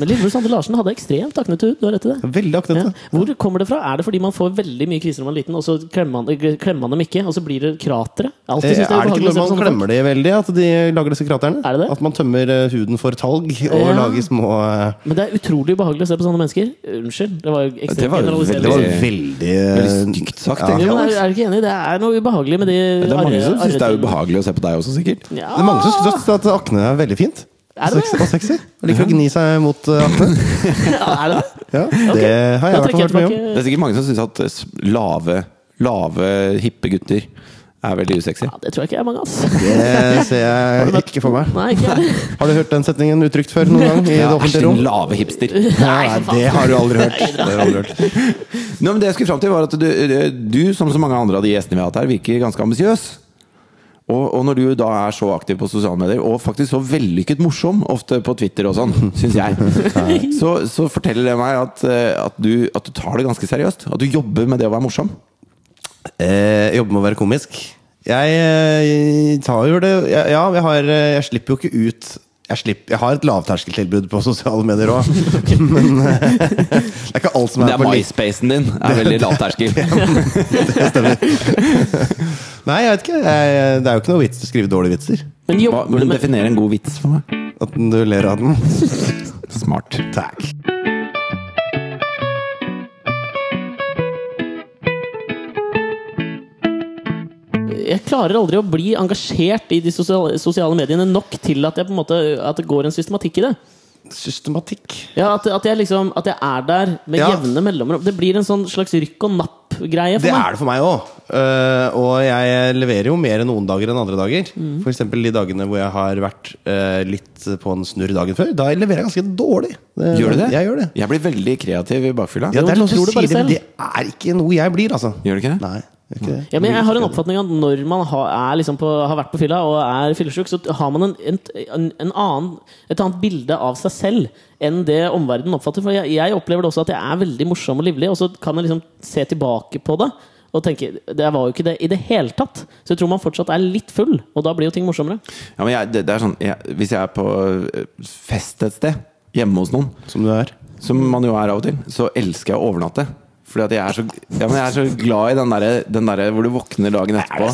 Speaker 3: Men Lillebror Sander Larsen hadde ekstremt aknete hud. Du har rett i det.
Speaker 2: Veldig aktivt.
Speaker 3: Ja.
Speaker 2: da.
Speaker 3: Hvor kommer det fra? Er det fordi man får veldig mye kviser når man er liten, og så klemmer man, eh, klemmer man dem ikke, og så blir det kratre?
Speaker 2: Eh, Er det ikke når man klemmer det veldig, at de lager disse kraterne?
Speaker 3: Er det det?
Speaker 2: At man tømmer eh, huden for talg og
Speaker 3: Ja.
Speaker 2: lager små eh,
Speaker 3: Men det er utrolig ubehagelig å se på sånne mennesker. Unnskyld. Det var jo ekstremt
Speaker 1: Det var jo
Speaker 3: generaliserende.
Speaker 2: Det var
Speaker 1: Eh,
Speaker 2: veldig eh,
Speaker 1: veldig stygt sagt,
Speaker 2: ja.
Speaker 1: egentlig.
Speaker 3: Jo, men er, er du ikke enig? Det er noe ubehagelig med de
Speaker 1: Det er mange som
Speaker 3: arre-
Speaker 1: syns det er
Speaker 3: arretennene.
Speaker 1: ubehagelig å se på deg også, sikkert.
Speaker 3: Ja.
Speaker 2: Det er mange som syns at akne er veldig fint.
Speaker 3: Er det det?
Speaker 2: Sexy og sexy. Jeg liker å gni seg mot eh, akne.
Speaker 3: Ja, er det det?
Speaker 2: Ja, det har
Speaker 3: Da
Speaker 2: jeg i hvert
Speaker 3: trekker
Speaker 2: fall hørt mye
Speaker 3: jeg
Speaker 2: om.
Speaker 3: tilbake.
Speaker 1: Det er sikkert mange som syns at eh, s- lave, lave, hippe gutter er veldig usexy.
Speaker 3: Ja, det tror jeg ikke er mange, ass.
Speaker 2: Det ser jeg ikke for meg.
Speaker 3: Nei, ikke jeg heller.
Speaker 2: Har du hørt den setningen uttrykt før noen gang? I det
Speaker 1: Ja, æsj,
Speaker 2: offentlige
Speaker 1: din
Speaker 2: rom?
Speaker 1: lave hipster.
Speaker 2: Nei, det har du aldri hørt. Det har du aldri hørt.
Speaker 1: Nå, men det jeg skulle fram til, var at du, du, som så mange andre av de gjestene vi har hatt her, virker ganske ambisiøs. Og, og når du da er så aktiv på sosiale medier, og faktisk så vellykket morsom, ofte på Twitter og sånn, syns jeg, så, så forteller det meg at, eh, at, du, at du tar det ganske seriøst. At du jobber med det å være morsom.
Speaker 2: Eh, jobbe med å være komisk. Jeg eh, tar jo det Ja, ja, jeg, har, eh, jeg slipper jo ikke ut Jeg, slipper, jeg har et lavterskeltilbud på sosiale medier òg, men eh, det er ikke alt som
Speaker 1: Det
Speaker 2: er,
Speaker 1: er
Speaker 2: på listen.
Speaker 1: MySpacen din. er veldig lavterskel.
Speaker 2: Nei, jeg vet ikke. Jeg, det er jo ikke noe vits i å skrive dårlige vitser.
Speaker 3: Men
Speaker 1: Hva,
Speaker 3: jobb,
Speaker 1: men
Speaker 3: men,
Speaker 1: definer en god vits for meg.
Speaker 2: At du ler av den.
Speaker 1: Smart.
Speaker 2: Takk.
Speaker 3: jeg klarer aldri å bli engasjert i de sosiale, sosiale mediene nok til at, jeg på en måte, at det går en systematikk i det.
Speaker 2: Systematikk.
Speaker 3: Ja, at, at, jeg liksom, at jeg er der med
Speaker 2: Ja.
Speaker 3: jevne mellomrom. Det blir en sånn slags rykk og napp-greie for
Speaker 2: Det
Speaker 3: meg.
Speaker 2: er det for meg òg. og jeg leverer jo mer noen dager enn andre dager. For eksempel de dagene hvor jeg har vært eh, litt på en snurr dagen før. Da leverer jeg ganske dårlig. Eh,
Speaker 1: Gjør du det?
Speaker 2: Jeg gjør det.
Speaker 1: Jeg blir veldig kreativ i bakfylla.
Speaker 2: Ja,
Speaker 3: Jo,
Speaker 2: det er
Speaker 3: du
Speaker 2: noen som
Speaker 3: tror det bare
Speaker 2: sier det, men det
Speaker 3: selv.
Speaker 2: er ikke noe jeg blir, altså.
Speaker 1: Gjør du ikke det?
Speaker 2: Nei, det er ikke det.
Speaker 3: Ja, men jeg har en oppfatning av at når man har, er liksom på, har vært på fylla og er fyllesyk, så har man en, en, en annen, et annet bilde av seg selv enn det omverdenen oppfatter. For jeg, jeg opplever det også at jeg er veldig morsom og livlig, og så kan jeg liksom se tilbake på det og tenke det var jo ikke det i det hele tatt. Så jeg tror man fortsatt er litt full, og da blir jo ting morsommere.
Speaker 1: Ja, men jeg, det, det er sånn, jeg, hvis jeg er på eh, fest et sted, hjemme hos noen,
Speaker 2: Som du er.
Speaker 1: som man jo er av og til, så elsker jeg å overnatte. Fordi at jeg er så, ja, men jeg er så glad i den derre den der hvor du våkner dagen etterpå,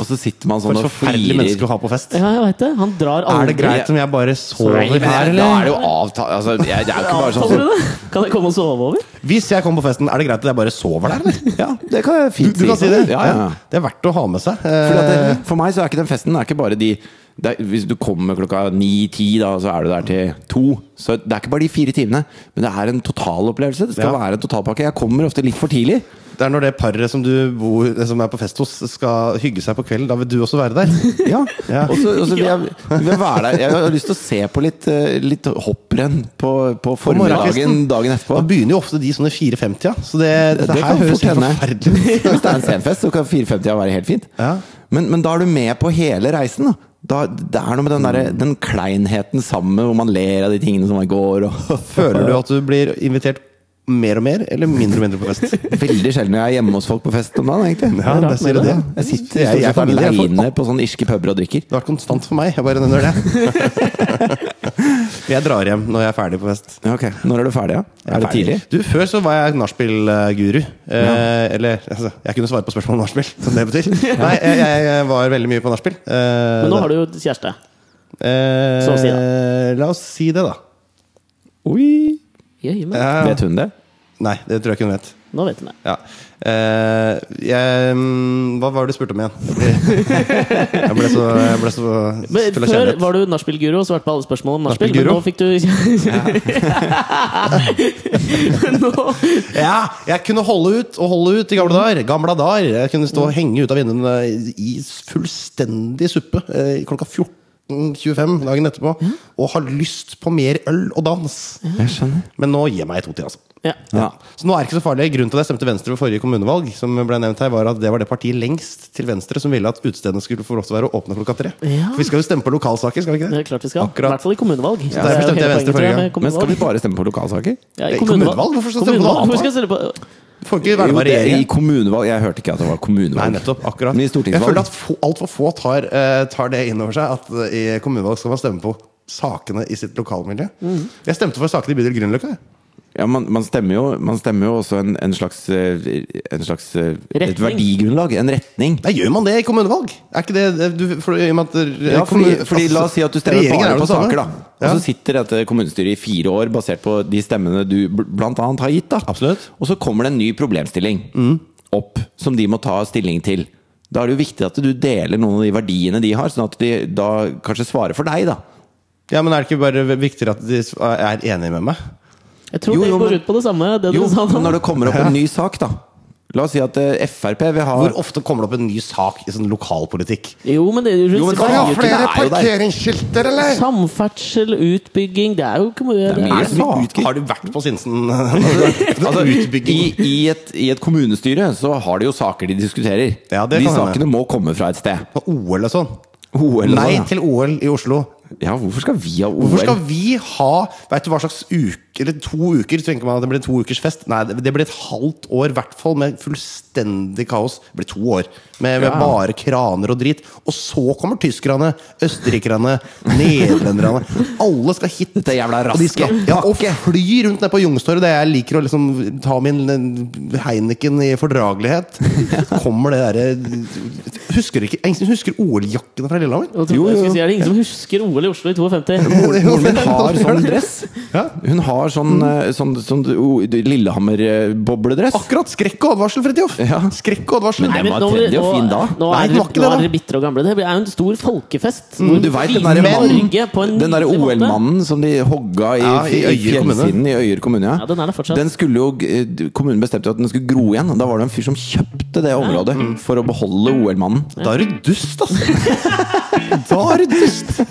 Speaker 1: og så sitter man sånn
Speaker 2: For
Speaker 1: og
Speaker 2: et forferdelig
Speaker 1: flirer.
Speaker 2: menneske å ha på fest.
Speaker 3: Ja, jeg vet det. Han drar
Speaker 2: Er det
Speaker 3: aldri
Speaker 2: greit om jeg bare sover
Speaker 1: Men jeg-
Speaker 2: her,
Speaker 1: Da er
Speaker 2: eller?
Speaker 1: det jo avtale altså, jeg, jeg er jo ikke bare
Speaker 3: Avtaler
Speaker 1: sånn
Speaker 3: du det? Kan jeg komme og sove over?
Speaker 2: Hvis jeg kommer på festen, er det greit at jeg bare sover der, eller?
Speaker 1: Ja, det kan jeg
Speaker 2: Du,
Speaker 1: fint
Speaker 2: du kan si det?
Speaker 1: Ja, ja, ja.
Speaker 2: Det er verdt å ha med seg.
Speaker 1: Fordi at
Speaker 2: Eh,
Speaker 1: det, for meg så er ikke den festen Det er ikke bare de det er, Hvis du kommer klokka 9-10 da Så er du der til 2 Så det er ikke bare de fire timene Men det er en totalopplevelse Det skal
Speaker 2: Ja.
Speaker 1: være en totalpakke Jeg kommer ofte litt for tidlig
Speaker 2: Det er når det paret som du bor, som er på fest hos, skal hygge seg på kvelden. Da vil du også være der.
Speaker 1: Ja,
Speaker 2: Ja.
Speaker 1: Og så, og så vil, jeg, vil jeg være der Jeg har lyst til å se på litt, eh, litt hopprenn På, på formiddagen
Speaker 2: morgenkvisten.
Speaker 1: dagen
Speaker 2: Da
Speaker 1: etterpå
Speaker 2: begynner jo ofte de sånne 4-5-tida, så det, det,
Speaker 1: Det kan
Speaker 2: her høres
Speaker 1: fort
Speaker 2: helt
Speaker 1: hende.
Speaker 2: forferdelig ut.
Speaker 1: Hvis det er en senfest Så kan 4.50 være helt fint
Speaker 2: Ja.
Speaker 1: men, men da er du med på hele reisen da da, det er noe med den, der,
Speaker 2: Mm.
Speaker 1: den kleinheten sammen Hvor man ler av de tingene som man går og,
Speaker 2: Føler du at du blir invitert mer og mer, eller mindre og mindre på fest?
Speaker 1: Veldig sjelden når jeg er hjemme hos folk på fest om dagen, egentlig.
Speaker 2: Ja, der
Speaker 3: det er rart
Speaker 2: sier
Speaker 3: med
Speaker 2: du det.
Speaker 3: det.
Speaker 1: Jeg sitter
Speaker 2: Jeg- sånn
Speaker 1: jeg,
Speaker 2: jeg
Speaker 1: jeg,
Speaker 2: er familie, jeg får-
Speaker 1: aleine på sånne irske puber og drikker.
Speaker 2: Det har vært konstant for meg. Jeg bare nevner det. Jeg drar hjem når jeg er ferdig på fest.
Speaker 1: Ja, Ok, Når er du ferdig, da? Er det
Speaker 2: Ferdig.
Speaker 1: tidlig?
Speaker 2: Du, Før så var jeg nachspiel-guru. Eh, Eller altså, jeg kunne svare på spørsmål om nachspiel, som det betyr. Nei, jeg, jeg var veldig mye på nachspiel. Eh,
Speaker 3: Men
Speaker 2: det-
Speaker 3: nå har du jo kjæreste.
Speaker 2: Eh,
Speaker 3: Så å si, da.
Speaker 2: La oss si det, da.
Speaker 1: Oi.
Speaker 3: Jøye meg.
Speaker 2: Ja.
Speaker 1: Vet hun det?
Speaker 2: Nei, det tror jeg ikke hun vet.
Speaker 3: Nå vet hun det.
Speaker 2: Ja. Eh, jeg, mm, hva var det du spurte om igjen? Jeg ble- Jeg ble så, jeg ble så
Speaker 3: Men
Speaker 2: full av
Speaker 3: før
Speaker 2: kjærlighet.
Speaker 3: var du nachspiel-guru og svarte på alle spørsmål om nachspiel, men
Speaker 2: Nachspiel-guru?
Speaker 3: nå fikk du Men nå
Speaker 2: Ja, jeg kunne holde ut og holde ut i gamle dager. Gamle dager. Jeg kunne stå og
Speaker 3: Mm.
Speaker 2: henge ut av vinduene i fullstendig suppe eh, klokka 14.25 dagen etterpå
Speaker 3: Mm.
Speaker 2: og ha lyst på mer øl og dans.
Speaker 1: Jeg skjønner.
Speaker 2: Men nå gir jeg meg i to til, altså.
Speaker 3: ja.
Speaker 1: Ja.
Speaker 2: Så nå er det ikke så farlig. Grunnen til at jeg stemte Venstre ved forrige kommunevalg, som ble nevnt her, var at det var det partiet lengst til venstre som ville at utestedene skulle få lov til å være åpne klokka tre.
Speaker 3: Ja.
Speaker 2: For vi skal jo stemme på lokalsaker, skal vi ikke
Speaker 3: Det
Speaker 2: det?
Speaker 3: er klart vi skal. I
Speaker 2: Akkurat.
Speaker 3: hvert fall i kommunevalg.
Speaker 2: derfor
Speaker 3: Så det er jo
Speaker 2: stemte jeg
Speaker 3: hele
Speaker 2: Venstre
Speaker 3: poenget, tror jeg,
Speaker 2: forrige
Speaker 3: med
Speaker 2: gang.
Speaker 1: Men skal vi
Speaker 3: kommunevalg.
Speaker 1: bare stemme på lokalsaker?
Speaker 3: Ja, i
Speaker 2: Eh,
Speaker 3: kommunevalg.
Speaker 2: kommunevalg? Hvorfor skal vi stemme på noe annet,
Speaker 3: Kommunevalg? Hvorfor skal vi stemme på
Speaker 2: Får ikke være
Speaker 1: Jo,
Speaker 2: med
Speaker 1: det, I
Speaker 2: regjeringen.
Speaker 1: kommunevalg Jeg hørte ikke at det var kommunevalg.
Speaker 2: Nei, nettopp. Akkurat.
Speaker 1: Men i
Speaker 2: Jeg føler
Speaker 1: stortingsvalg
Speaker 2: at få- altfor få tar, eh, tar det inn over seg at eh, i kommunevalg skal man stemme på sakene i sitt lokalmiljø.
Speaker 1: Mhm.
Speaker 2: Jeg stemte for sakene i bydel Grünerløkka. jeg.
Speaker 1: ja, man, man, stemmer jo, man stemmer jo også en, en slags, eh, en slags eh,
Speaker 3: Retning.
Speaker 1: Et verdigrunnlag. En retning.
Speaker 2: Nei, gjør man det i kommunevalg? Er ikke det det- du, for, i og med at, eh,
Speaker 1: Ja, fordi,
Speaker 2: kommun-
Speaker 1: fordi La oss si at du stemmer
Speaker 2: Regjeringen er
Speaker 1: bare
Speaker 2: jo
Speaker 1: på
Speaker 2: det samme.
Speaker 1: saker, da. Og
Speaker 2: Ja.
Speaker 1: så sitter dette kommunestyret i fire år basert på de stemmene du bl- blant annet har gitt. da
Speaker 2: Absolutt.
Speaker 1: Og så kommer det en ny problemstilling
Speaker 2: Mm.
Speaker 1: opp som de må ta stilling til. Da er det jo viktig at du deler noen av de verdiene de har, sånn at de da kanskje svarer for deg, da.
Speaker 2: Ja, men er det ikke bare viktigere at de er enige med meg?
Speaker 3: Jeg tror
Speaker 1: Jo, jo,
Speaker 3: det går
Speaker 1: men-
Speaker 3: ut på det samme, det du
Speaker 1: Jo,
Speaker 3: sa
Speaker 1: men
Speaker 3: nå.
Speaker 1: når det kommer opp en ny sak, da. La oss si at eh, Frp vil ha
Speaker 2: Hvor ofte kommer det opp en ny sak i sånn lokalpolitikk?
Speaker 3: Jo, men det
Speaker 1: Jo, men kan vi ha flere?
Speaker 2: parkeringsskilter, eller?
Speaker 3: Samferdsel, utbygging Det er jo
Speaker 1: Det
Speaker 3: kommune...
Speaker 1: er
Speaker 3: Det
Speaker 1: mye.
Speaker 3: er,
Speaker 2: Er det mye ut, har du vært på Sinsen? altså,
Speaker 1: i, i, et, I et kommunestyre så har de jo saker de diskuterer.
Speaker 2: Ja, det
Speaker 1: de
Speaker 2: kan hende.
Speaker 1: sakene må komme fra et sted.
Speaker 2: På OL og sånn.
Speaker 1: OL og
Speaker 2: Nei
Speaker 1: sånn, ja.
Speaker 2: til OL i Oslo.
Speaker 1: Ja, hvorfor skal vi ha OL?
Speaker 2: Hvorfor skal vi ha Vet du hva slags uke Eller to uker? Tenker man at det blir en to ukers fest? Nei, det det blir et halvt år, i hvert fall, med fullstendig kaos. Det blir to år med, med
Speaker 1: Ja.
Speaker 2: bare kraner og drit. Og så kommer tyskerne, østerrikerne, nederlenderne. Alle skal hit.
Speaker 1: Dette jævla
Speaker 2: Og de skal,
Speaker 1: rasket.
Speaker 2: ja, og fly rundt ned på Youngstorget, der jeg liker å liksom ta min eh, Heineken i fordragelighet. Så kommer det derre Husker dere ikke Jeg husker OL-jakkene fra Lillehammer?
Speaker 3: Jeg trodde
Speaker 1: Jo, jo,
Speaker 3: jeg
Speaker 1: jo.
Speaker 3: skulle si, er det ingen som husker OL i Oslo i 52?
Speaker 1: Moren, moren min har sånn dress.
Speaker 2: Ja.
Speaker 1: Hun har sånn,
Speaker 2: Mm.
Speaker 1: eh, sånn, sånn o- Lillehammer-bobledress.
Speaker 2: Akkurat! Skrekk og advarsel, Fridtjof!
Speaker 1: Ja.
Speaker 2: Skrekk og advarsel.
Speaker 1: Nei, Den var
Speaker 3: nå,
Speaker 1: trendy og
Speaker 3: nå-
Speaker 1: fin da.
Speaker 3: nå
Speaker 2: Nei,
Speaker 3: er
Speaker 2: den var ikke
Speaker 3: dere-
Speaker 2: det
Speaker 3: nå er
Speaker 2: da.
Speaker 3: dere bitre og gamle. Det er jo en stor folkefest.
Speaker 1: Mm, du vet, den der mannen- Den derre OL-mannen som de hogga i,
Speaker 2: Ja, i
Speaker 1: i,
Speaker 2: Øyer
Speaker 1: fjellsiden i Øyer kommune.
Speaker 3: Ja, den er der fortsatt.
Speaker 1: Den skulle jo, eh, kommunen bestemte jo at den skulle gro igjen. Da var det en fyr som kjøpte det området
Speaker 2: Mm.
Speaker 1: for å beholde OL-mannen.
Speaker 2: Da er du dust, altså! da er du dust!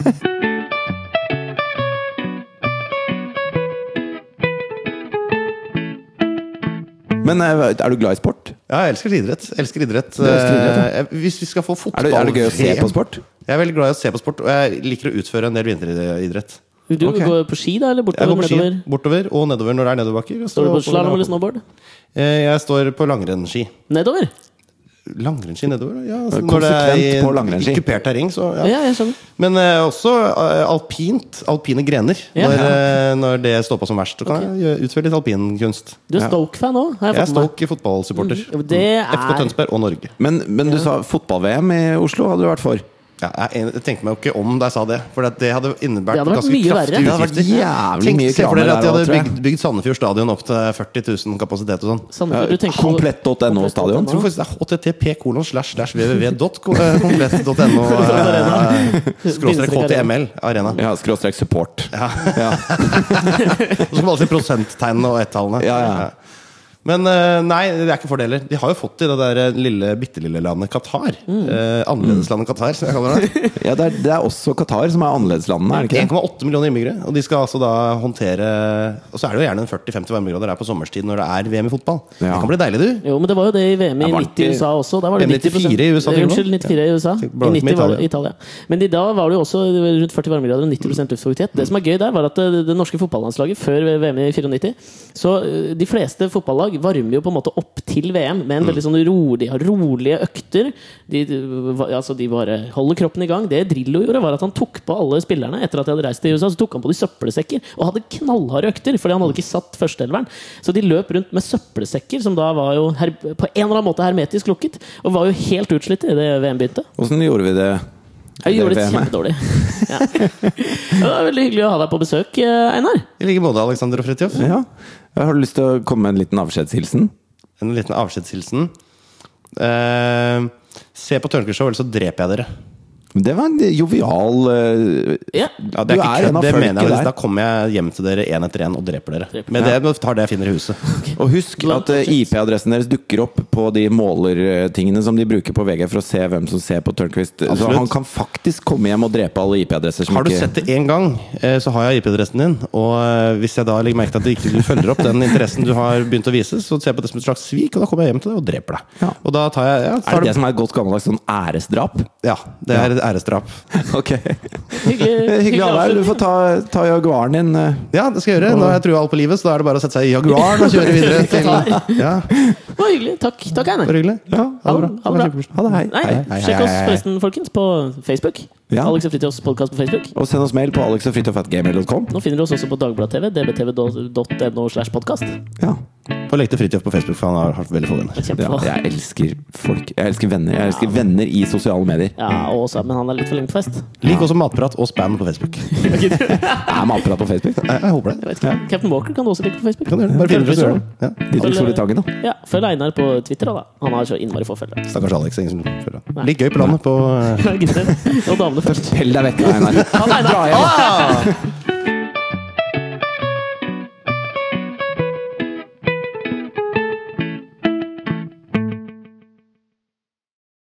Speaker 1: Men eh, er du glad i sport?
Speaker 2: Ja, jeg elsker idrett. Jeg elsker idrett.
Speaker 1: elsker idrett,
Speaker 2: Eh, Hvis vi skal få
Speaker 1: Er
Speaker 2: fotball
Speaker 1: det, er det gøy å se på sport?
Speaker 2: Jeg er veldig glad i å se på sport, og jeg liker å utføre en del vinteridrett.
Speaker 3: Du
Speaker 1: Ok.
Speaker 3: går på ski, da? Eller
Speaker 2: Jeg
Speaker 3: bortover?
Speaker 2: går på ski
Speaker 3: nedover?
Speaker 2: bortover og nedover når det er nedoverbakker. og så
Speaker 3: Står du på
Speaker 2: oppover når
Speaker 3: slalåm
Speaker 2: det
Speaker 3: eller
Speaker 2: er oppover.
Speaker 3: snowboard?
Speaker 2: Eh, Jeg står på langrennsski.
Speaker 3: Nedover?
Speaker 2: Langrennsski nedover? Ja, altså,
Speaker 1: Konsekvent
Speaker 2: når det er i
Speaker 1: på langrennsski.
Speaker 2: i kupert terreng, så ja.
Speaker 3: Ja, jeg skjønner.
Speaker 2: Men eh, også eh, alpint. Alpine grener.
Speaker 3: Ja.
Speaker 2: Når, eh, når det står på som verst. Så kan jeg gjøre- utføre litt alpinkunst.
Speaker 3: Du er Stoke-fan òg, har
Speaker 2: Jeg
Speaker 3: jeg
Speaker 2: er
Speaker 3: fått med meg.
Speaker 2: Stoke fotballsupporter.
Speaker 3: Mm, det er-
Speaker 2: FK Tønsberg og Norge.
Speaker 1: Men, men du sa fotball-VM i Oslo hadde du vært for.
Speaker 2: Ja, jeg, jeg tenkte meg jo ikke om da jeg sa det, for det hadde innebært
Speaker 3: Det hadde vært
Speaker 2: ganske
Speaker 3: mye verre.
Speaker 2: kraftige
Speaker 3: Det
Speaker 1: hadde vært
Speaker 2: utgifter.
Speaker 1: jævlig
Speaker 2: Tenk,
Speaker 1: mye
Speaker 2: Se for
Speaker 1: kramer der
Speaker 2: dere at de hadde
Speaker 1: også, tror jeg.
Speaker 2: bygd, bygd Sandefjord stadion opp til 40 000 kapasitet og sånn.
Speaker 3: Sandefjord,
Speaker 1: Ja,
Speaker 3: du tenker på-
Speaker 1: komplett.no
Speaker 3: komplett.no.
Speaker 1: stadion,
Speaker 2: Jeg tror faktisk det er http kolon slash slash www.komplett.no eh, skråstrek html arena.
Speaker 1: Ja, Skråstrek support. Ja.
Speaker 2: Og så skal man alltid prosenttegnene og ett-tallene.
Speaker 1: Ja, ja.
Speaker 2: Men eh, nei, det er ikke fordeler. De har jo fått til det der eh, lille, bitte lille landet Qatar.
Speaker 1: Mm.
Speaker 2: Eh, Annerledeslandet Qatar, som jeg kaller det.
Speaker 1: det, er, det er også Qatar som er annerledeslandene, er det ikke det?
Speaker 2: 1,8 millioner innbyggere. Og de skal altså da håndtere Og så er det jo gjerne en 40-50 varmegrader der på sommerstid når det er VM i fotball.
Speaker 1: Ja.
Speaker 2: Det kan bli deilig, du.
Speaker 3: Jo, men det var jo det i VM i
Speaker 1: Ja, var det
Speaker 3: 90 i
Speaker 1: ikke-
Speaker 3: USA også. Da var det
Speaker 2: VM i
Speaker 3: 90%.
Speaker 2: 94 i USA,
Speaker 3: Eh,
Speaker 2: tenker du på?
Speaker 3: Unnskyld, 94 i USA. I
Speaker 2: Blander med
Speaker 3: 90 var
Speaker 2: Italia.
Speaker 3: det Italia. Men i dag var det jo også rundt 40 varmegrader og 90 luftfuktighet. Det som er gøy der, var at eh, det norske fotballandslaget før VM i 94 Så eh, de fleste fotballag varmer jo på en måte opp til VM med en veldig sånn rolig, har rolige økter. De, eh, va- altså de bare holder kroppen i gang. Det Drillo gjorde, var at han tok på alle spillerne etter at de hadde reist til USA. Så tok han på de søppelsekker og hadde knallharde økter, fordi han hadde ikke satt førsteelveren. Så de løp rundt med søppelsekker, som da var jo her, på en eller annen måte hermetisk lukket, og var jo helt utslitt i det VM begynte.
Speaker 1: Åssen gjorde vi det?
Speaker 3: Jeg gjorde det
Speaker 1: det VM-et?
Speaker 3: kjempedårlig. Ja. Ja, Det var veldig hyggelig å ha deg på besøk, eh, Einar.
Speaker 2: I like måte, Alexander og Fridtjof.
Speaker 1: Ja. Jeg har du lyst til å komme med en liten avskjedshilsen?
Speaker 2: En liten avskjedshilsen. Eh, se på Tørnquist-show, ellers så dreper jeg dere.
Speaker 1: Det var en jovial eh,
Speaker 3: Ja.
Speaker 1: ja, Du
Speaker 2: Det er ikke
Speaker 1: er
Speaker 2: kødd,
Speaker 1: en av
Speaker 2: det mener jeg
Speaker 1: folket
Speaker 2: faktisk. Da
Speaker 1: der.
Speaker 2: kommer jeg hjem til dere én etter én og dreper dere.
Speaker 3: Dreper.
Speaker 2: Men det nå tar det jeg finner i huset.
Speaker 1: Og husk at eh, IP-adressen deres dukker opp på de målertingene som de bruker på VG for å se hvem som ser på Tørnquist. Så
Speaker 2: Absolutt.
Speaker 1: han kan faktisk komme hjem og drepe alle IP-adresser som
Speaker 2: Har du
Speaker 1: ikke
Speaker 2: sett det én gang, eh, så har jeg IP-adressen din. Og eh, hvis jeg da legger merke til at du ikke du følger opp den interessen du har begynt å vise, så ser jeg på det som et slags svik, og da kommer jeg hjem til deg og dreper deg.
Speaker 1: Ja.
Speaker 2: Og da tar jeg ja,
Speaker 1: Er
Speaker 2: tar
Speaker 1: det det som er et godt gammeldags sånn æresdrap?
Speaker 2: ja, det er et æresdrap.
Speaker 1: Ok.
Speaker 2: Eh,
Speaker 3: Hyggelig,
Speaker 1: Hyggelig å ha deg her. Du
Speaker 3: avslutning.
Speaker 1: får ta, ta Jaguaren din. eh.
Speaker 2: Ja, det skal jeg gjøre. Nå har jeg trua alt på livet, så da er det bare å sette seg i Jaguaren og kjøre videre til Ja,
Speaker 3: Det var hyggelig. Takk, Takk Einar.
Speaker 2: bare hyggelig.
Speaker 1: Ja,
Speaker 2: Ha det bra.
Speaker 3: Ha det bra.
Speaker 1: Ha det, hei.
Speaker 3: Nei,
Speaker 1: hei.
Speaker 2: hei,
Speaker 3: sjekk
Speaker 2: hei,
Speaker 3: oss
Speaker 2: hei.
Speaker 3: forresten, folkens, på Facebook.
Speaker 1: Ja.
Speaker 3: Alex og Fritjofs podkast på Facebook.
Speaker 1: Og send oss mail på alexogfritjofatgamer.com.
Speaker 3: Nå finner du oss også på Dagbladet TV, dbtv.no slash podkast.
Speaker 1: Ja.
Speaker 2: Og legg til Fridtjof på Facebook, for han har hatt veldig få venner.
Speaker 1: ja.
Speaker 3: Kjempebra.
Speaker 1: Jeg elsker folk. Jeg elsker venner. Jeg elsker venner i sosiale medier.
Speaker 3: Ja, og også, men han er litt for lenge på fest.
Speaker 2: Lik også Matprat og Spam på Facebook. Jeg,
Speaker 1: Er man apparat på Facebook?
Speaker 2: jeg håper det.
Speaker 3: Jeg vet ikke. Captain Walker kan du også like på Facebook.
Speaker 2: Kan du gjøre det. Bare finne ut og gjøre det. Ja.
Speaker 1: Didrik Solitangen, da.
Speaker 3: Ja, følg Einar på Twitter, da. Han har så innmari få følgere.
Speaker 2: Stakkars Alex. Ingen som føler det. Litt gøy på landet på eh,
Speaker 3: Og damene først.
Speaker 1: Pell deg vekk, Einar.
Speaker 3: Ha det, Einar.
Speaker 1: Dra hjem.
Speaker 2: ah!